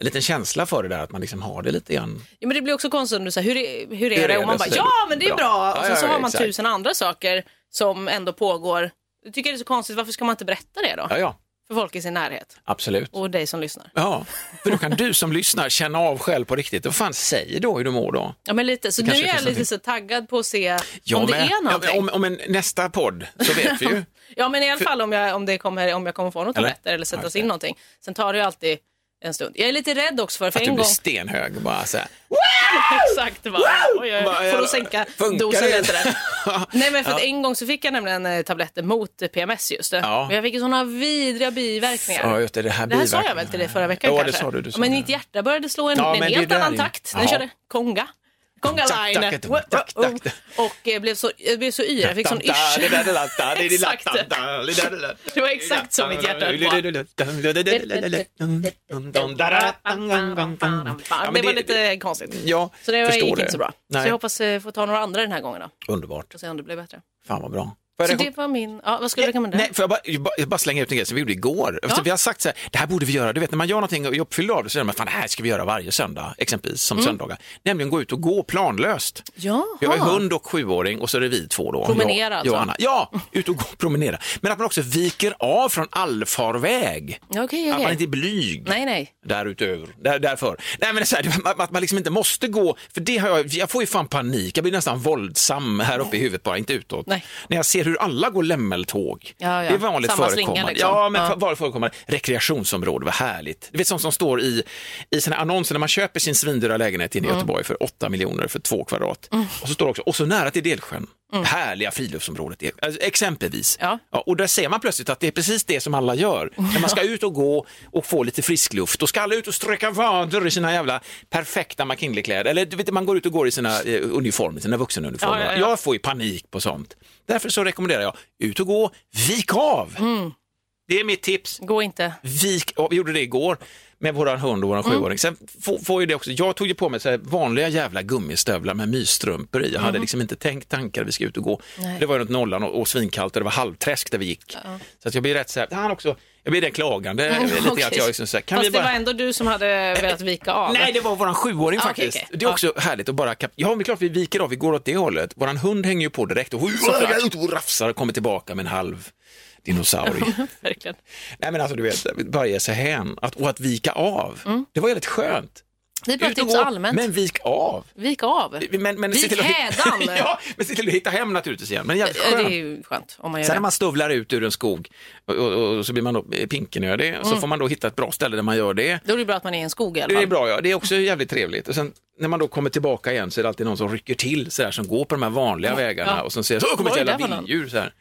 Speaker 1: en liten känsla för det där, att man liksom har det lite grann.
Speaker 2: Ja, men det blir också konstigt om du säger, hur är, hur är det? Och
Speaker 1: Så
Speaker 2: man bara,
Speaker 1: säger
Speaker 2: ja
Speaker 1: du,
Speaker 2: men det är
Speaker 1: bra.
Speaker 2: bra.
Speaker 1: Ja,
Speaker 2: Och sen
Speaker 1: ja,
Speaker 2: så
Speaker 1: ja,
Speaker 2: har man
Speaker 1: exakt.
Speaker 2: tusen andra saker som ändå pågår. Jag tycker det är så konstigt, varför ska man inte berätta det då?
Speaker 1: Ja, ja,
Speaker 2: För folk i sin närhet
Speaker 1: absolut.
Speaker 2: och dig som lyssnar.
Speaker 1: Ja, för då kan du som lyssnar känna av själv på riktigt. Vad fan säger då hur du mår då?
Speaker 2: Ja men lite, så nu
Speaker 1: kanske
Speaker 2: är jag
Speaker 1: finns
Speaker 2: lite så taggad på att se om det
Speaker 1: men-
Speaker 2: är
Speaker 1: ja,
Speaker 2: någonting.
Speaker 1: men om, om en, nästa podd så vet
Speaker 2: [laughs]
Speaker 1: vi ju.
Speaker 2: Ja men i alla fall om jag, om det kommer, om jag kommer få något
Speaker 1: Eller?
Speaker 2: att berätta eller
Speaker 1: Ja,
Speaker 2: sättas
Speaker 1: just det.
Speaker 2: in någonting. Sen tar det ju alltid en stund. Jag är lite rädd också för, för
Speaker 1: Att du
Speaker 2: en
Speaker 1: blir
Speaker 2: gång...
Speaker 1: stenhög och bara så här.
Speaker 2: [laughs] Exakt, bara, oj, oj, oj, Eh, får du sänka
Speaker 1: Funkar
Speaker 2: dosen
Speaker 1: det? [laughs]
Speaker 2: lite där. Nej men för att en gång så fick jag nämligen eh, tabletter mot eh, PMS just det.
Speaker 1: Ja.
Speaker 2: Men jag fick ju sådana vidriga biverkningar.
Speaker 1: Ja, just det, det här
Speaker 2: Det här sa jag
Speaker 1: biverkningar.
Speaker 2: väl till dig förra veckan
Speaker 1: Ja, det
Speaker 2: kanske?
Speaker 1: sa du, du sa
Speaker 2: men
Speaker 1: det.
Speaker 2: mitt hjärta började slå en,
Speaker 1: Ja,
Speaker 2: en
Speaker 1: men det
Speaker 2: helt
Speaker 1: där
Speaker 2: annan
Speaker 1: är-
Speaker 2: takt. Den
Speaker 1: Jaha.
Speaker 2: körde konga. Konga
Speaker 1: Tack,
Speaker 2: line.
Speaker 1: tack, tack, tack, tack, tack.
Speaker 2: Och eh, blev så, jag blev så yr, jag fick sån
Speaker 1: Da, da, da, da,
Speaker 2: yrsel.
Speaker 1: da, da, da, da,
Speaker 2: Exakt.
Speaker 1: da, da, da, da, da.
Speaker 2: Det var exakt så mitt hjärta höll på.
Speaker 1: Ja, men
Speaker 2: Det
Speaker 1: det-
Speaker 2: var lite konstigt.
Speaker 1: Ja,
Speaker 2: Så det var,
Speaker 1: förstår
Speaker 2: gick
Speaker 1: det.
Speaker 2: inte så bra.
Speaker 1: Nej.
Speaker 2: Så jag hoppas eh, få ta några andra den här gången då.
Speaker 1: Underbart.
Speaker 2: Och se om det blir bättre.
Speaker 1: Fan vad bra.
Speaker 2: Så det var min, ja, vad skulle du rekommendera?
Speaker 1: Eh, Nej, får jag bara, jag bara- jag bara slänga ut en grej som vi gjorde igår. Efter Vi har sagt så här, det här borde vi göra. Du vet när man gör någonting och jag uppfyller av det så säger man, fan det här ska vi göra varje söndag, exempelvis som söndagar. Nämligen gå ut och gå planlöst.
Speaker 2: Jaha.
Speaker 1: Jag är hund och sjuåring och så är det vi två då.
Speaker 2: Promenera
Speaker 1: jag,
Speaker 2: alltså.
Speaker 1: Jag och Anna. Ja, ut och gå och promenera. Men att man också viker av från allfarväg.
Speaker 2: Okej, okej.
Speaker 1: Att man inte är blyg.
Speaker 2: Nej, nej.
Speaker 1: Därutöver, där, därför. Nej men så här, att- att man liksom inte måste gå, för det har jag, jag får ju fan panik, jag blir nästan våldsam här uppe i huvudet bara, inte utåt.
Speaker 2: Nej.
Speaker 1: När jag ser hur alla går lämmeltåg.
Speaker 2: Ja, ja.
Speaker 1: Det är vanligt
Speaker 2: Samma slinga,
Speaker 1: förekommande.
Speaker 2: liksom.
Speaker 1: Ja, men
Speaker 2: Ja.
Speaker 1: ja. vanligt förekommande. Rekreationsområde, vad härligt. Du vet sånt som står i, i sina annonser när man köper sin svindyra lägenhet
Speaker 2: Mm.
Speaker 1: inne i Göteborg för 8 miljoner för två kvadrat. Och så står det också, och så nära till Delsjön. Härliga friluftsområdet, är- alltså, exempelvis.
Speaker 2: Mm. Ja.
Speaker 1: och där ser man plötsligt att det är precis det som alla gör. När man ska ut och gå och få lite frisk luft, då ska alla ut och sträcka vader i sina jävla perfekta McKinley-kläder. Eller du vet, man går ut och går i sina eh, uniformer, sina vuxenuniformer.
Speaker 2: Ja, ja, ja.
Speaker 1: Jag får ju panik på sånt. Därför så rekommenderar jag, ut och gå, vik av.
Speaker 2: Mm.
Speaker 1: Det är mitt tips.
Speaker 2: Gå inte.
Speaker 1: Vik, ja, vi gjorde det igår med våran hund och våran
Speaker 2: Mm.
Speaker 1: sjuåring. Sen får, får ju det också, jag tog ju på mig så här vanliga jävla gummistövlar med mysstrumpor i. Jag
Speaker 2: Mm.
Speaker 1: hade liksom inte tänkt tankar, vi ska ut och gå. Det var ju runt nollan och, och svinkallt och det var halvträsk där vi gick. Så att jag blir rätt så här, han också, jag blir den klagande. lite grann
Speaker 2: Okej.
Speaker 1: att jag liksom så här, kan
Speaker 2: Fast
Speaker 1: vi bara...
Speaker 2: det var ändå du som hade velat vika av.
Speaker 1: Nej, det var våran sjuåring
Speaker 2: Ah,
Speaker 1: faktiskt.
Speaker 2: okej, okej.
Speaker 1: Det är också härligt att bara kap- Ja, men det är klart vi viker av, vi går åt det hållet. Våran hund hänger ju på direkt och, ut och rafsar och kommer tillbaka med en halv dinosaurie.
Speaker 2: [laughs] Verkligen.
Speaker 1: Nej men alltså du vet, bara ge sig hän att, och att vika av. Det var jävligt skönt.
Speaker 2: Mm. Det är bra
Speaker 1: Ut och
Speaker 2: tips
Speaker 1: gå,
Speaker 2: allmänt.
Speaker 1: Men vik av.
Speaker 2: Vik av.
Speaker 1: Men, men
Speaker 2: Vik hädan.
Speaker 1: [laughs] ja, men se till att hitta hem naturligtvis igen. Men jävligt
Speaker 2: Ja, Det är
Speaker 1: skönt.
Speaker 2: ju skönt om man gör
Speaker 1: Sen när
Speaker 2: det.
Speaker 1: man stövlar ut ur en skog och, och, och så blir man då pinkenödig,
Speaker 2: Mm.
Speaker 1: så får man då hitta ett bra ställe där man gör det.
Speaker 2: Då är det bra att man är i en skog i alla
Speaker 1: Det är
Speaker 2: fall.
Speaker 1: bra, ja. Det är också jävligt trevligt. Och sen när man då kommer tillbaka igen så är det alltid någon som rycker till så här, som går på de här vanliga vägarna
Speaker 2: ja.
Speaker 1: och som säger så kommer ett
Speaker 2: Oj,
Speaker 1: jävla
Speaker 2: där var någon."
Speaker 1: vilddjur. Så, här.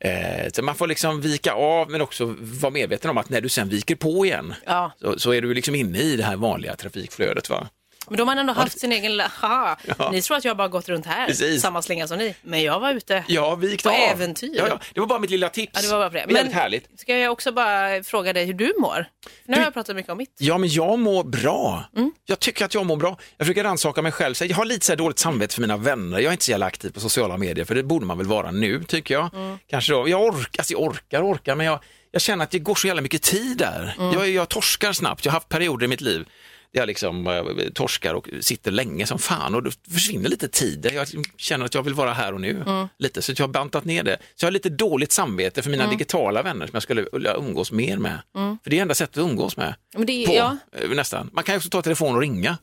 Speaker 1: eh, så man får liksom vika av men också vara medveten om att när du sen viker på igen
Speaker 2: Ja.
Speaker 1: så, så är du liksom inne i det här vanliga trafikflödet. Va?
Speaker 2: Men då har man ändå haft sin egen... lilla- Haha,
Speaker 1: Ja.
Speaker 2: Ni tror att jag bara gått runt här,
Speaker 1: Precis.
Speaker 2: samma slinga som ni. Men jag var ute.
Speaker 1: Ja, vikt
Speaker 2: På
Speaker 1: av.
Speaker 2: äventyr.
Speaker 1: Ja, ja. Det var bara mitt lilla tips.
Speaker 2: Ja, det var bara på det.
Speaker 1: Men... Jävligt härligt.
Speaker 2: ska jag också bara fråga dig hur du mår? Nu har jag pratat mycket om mitt.
Speaker 1: Ja, men jag mår bra. Jag tycker att jag mår bra. Jag försöker rannsaka mig själv. Så jag har lite så här dåligt samvete för mina vänner. Jag är inte så jävla aktiv på sociala medier, för det borde man väl vara nu, tycker jag. Kanske då. Jag, orkar, alltså jag orkar, orkar, men jag, jag känner att det går så jävla mycket tid där. Jag, jag torskar snabbt. Jag har haft perioder i mitt liv där jag liksom eh, torskar och sitter länge som fan och då försvinner lite tid. Jag känner att jag vill vara här och nu. Lite, så jag har bantat ner det. Så jag har lite dåligt samvete för mina digitala vänner som jag skulle vilja umgås mer med. För det är enda sättet att umgås med
Speaker 2: Men det,
Speaker 1: på
Speaker 2: ja,
Speaker 1: eh, nästan. Man kan ju också ta telefon och ringa.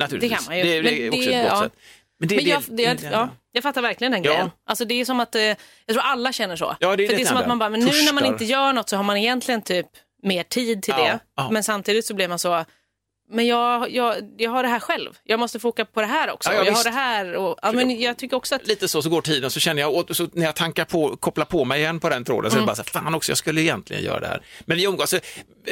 Speaker 1: Naturligtvis.
Speaker 2: Det kan man ju.
Speaker 1: Det, det är
Speaker 2: Men
Speaker 1: också
Speaker 2: det-
Speaker 1: ett gott
Speaker 2: ja.
Speaker 1: sätt. Men det,
Speaker 2: Men jag,
Speaker 1: det-
Speaker 2: det, jag,
Speaker 1: det-
Speaker 2: ja, jag fattar verkligen den
Speaker 1: Ja.
Speaker 2: grejen. Alltså det är som att, eh, jag tror alla känner så.
Speaker 1: Ja, det är
Speaker 2: För
Speaker 1: det
Speaker 2: det är som
Speaker 1: det
Speaker 2: att man bara, men nu när man
Speaker 1: Törstar.
Speaker 2: inte gör något så har man egentligen typ mer tid till
Speaker 1: Ja,
Speaker 2: det.
Speaker 1: ja.
Speaker 2: Men samtidigt så blir man så, men jag, jag, jag har det här själv. Jag måste foka på det här också.
Speaker 1: Ja, ja,
Speaker 2: jag har
Speaker 1: visst.
Speaker 2: det här och, ja, men jag tycker också att
Speaker 1: Lite så, så går tiden så känner jag, och så när jag tankar på, kopplar på mig igen på den tråden,
Speaker 2: Mm.
Speaker 1: så är det bara så här, fan också, jag skulle egentligen göra det här. Men vi umgås, eh,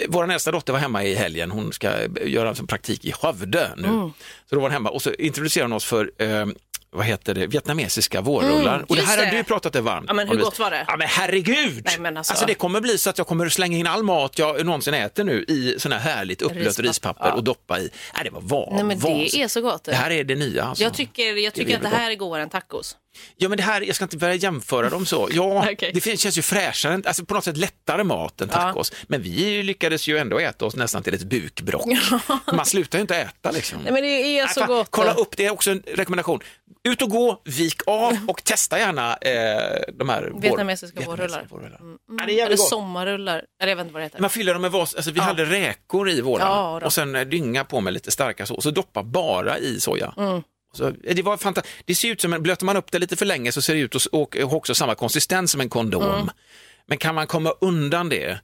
Speaker 1: vår nästa dotter var hemma i helgen, hon ska eh, göra som praktik i Skövde nu.
Speaker 2: Mm.
Speaker 1: Så då var hon hemma och så introducerade hon oss för eh, vad heter det, vietnamesiska vårrullar. och det
Speaker 2: Mm, just
Speaker 1: här har
Speaker 2: det.
Speaker 1: du pratat dig varmt
Speaker 2: Ja, men hur
Speaker 1: om, Louise.
Speaker 2: gott var det?
Speaker 1: Ja men herregud!
Speaker 2: Nej, men alltså-
Speaker 1: det kommer bli så att jag kommer slänga in all mat jag någonsin äter nu i sån här härligt upplöst
Speaker 2: Rispapper,
Speaker 1: rispapper och doppa i. Nej, det var van,
Speaker 2: Nej, men det
Speaker 1: vansinnigt.
Speaker 2: är så gott.
Speaker 1: Det här är det nya. Alltså.
Speaker 2: jag tycker, jag tycker
Speaker 1: är
Speaker 2: att det här är godare än tacos.
Speaker 1: Ja, men det här, jag ska inte börja jämföra dem så. Ja,
Speaker 2: [laughs] Okej.
Speaker 1: det fin- känns ju fräschare, alltså på något sätt lättare mat än tacos. Men vi lyckades ju ändå äta oss nästan till ett bukbrock. [laughs] Man slutar ju inte äta liksom.
Speaker 2: Nej, men det är
Speaker 1: Nej,
Speaker 2: så
Speaker 1: fan,
Speaker 2: gott.
Speaker 1: Kolla upp, det är också en rekommendation. Ut och gå, vik
Speaker 2: [laughs]
Speaker 1: av och testa gärna eh, de här vår-
Speaker 2: Vietnamesiska vårrullar. Mm.
Speaker 1: Ja, det är jävligt
Speaker 2: Eller
Speaker 1: gott.
Speaker 2: sommarrullar. Eller jag vet inte vad det heter.
Speaker 1: Man fyller dem med vas, alltså vi hade räkor i våran
Speaker 2: Ja, då.
Speaker 1: och sen eh, dynga på med lite starka så, så doppa bara i soja.
Speaker 2: Mm.
Speaker 1: Och Så, eh, det, var fanta- det ser ut som, en- blöter man upp det lite för länge så ser det ut att s- och, och också samma konsistens som en kondom.
Speaker 2: Mm.
Speaker 1: Men kan man komma undan det,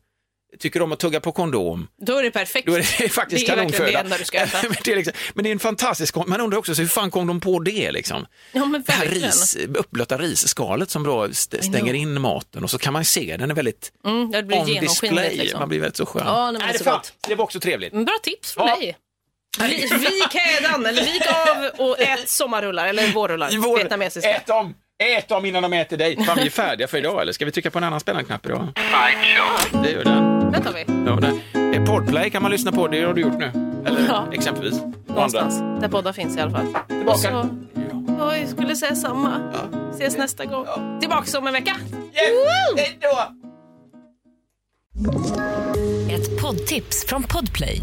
Speaker 1: tycker om att tugga på kondom,
Speaker 2: Då är det perfekt.
Speaker 1: då är det [laughs] faktiskt
Speaker 2: Det är verkligen
Speaker 1: kanonföda.
Speaker 2: det enda du ska äta.
Speaker 1: men, [laughs] det är liksom, men det är en fantastisk, kon- man undrar också så hur fan kom de på det liksom?
Speaker 2: Ja, men
Speaker 1: Det här
Speaker 2: verkligen.
Speaker 1: ris, uppblöta risskalet som då st- stänger in maten och så kan man se, den är väldigt
Speaker 2: Mm, det blir
Speaker 1: on display.
Speaker 2: genomskinligt liksom.
Speaker 1: Man blir väldigt så skön.
Speaker 2: Ja, nej, men det är
Speaker 1: det,
Speaker 2: så
Speaker 1: fan,
Speaker 2: gott.
Speaker 1: det var också trevligt.
Speaker 2: Men Bra tips från
Speaker 1: Ja.
Speaker 2: dig. Vi- Vik hädan, eller vik av och ät sommarrullar, eller vårrullar,
Speaker 1: Eh. I vår- Eh.
Speaker 2: vietnamesiska.
Speaker 1: Ät dem! Ät dem innan de äter dig. Fan, vi är färdiga för idag, eller ska vi trycka på en annan spännande knapp idag? Det gör den.
Speaker 2: Den tar vi.
Speaker 1: Ja, den. Eh, Podplay kan man lyssna på, det har du gjort nu. Eller
Speaker 2: Ja.
Speaker 1: exempelvis. Och andra.
Speaker 2: Någonstans. Där poddar finns i alla fall.
Speaker 1: Tillbaka.
Speaker 2: Och så, ja, jag skulle säga samma. Ses nästa gång. Tillbaka om en vecka.
Speaker 3: Ett poddtips från Podplay.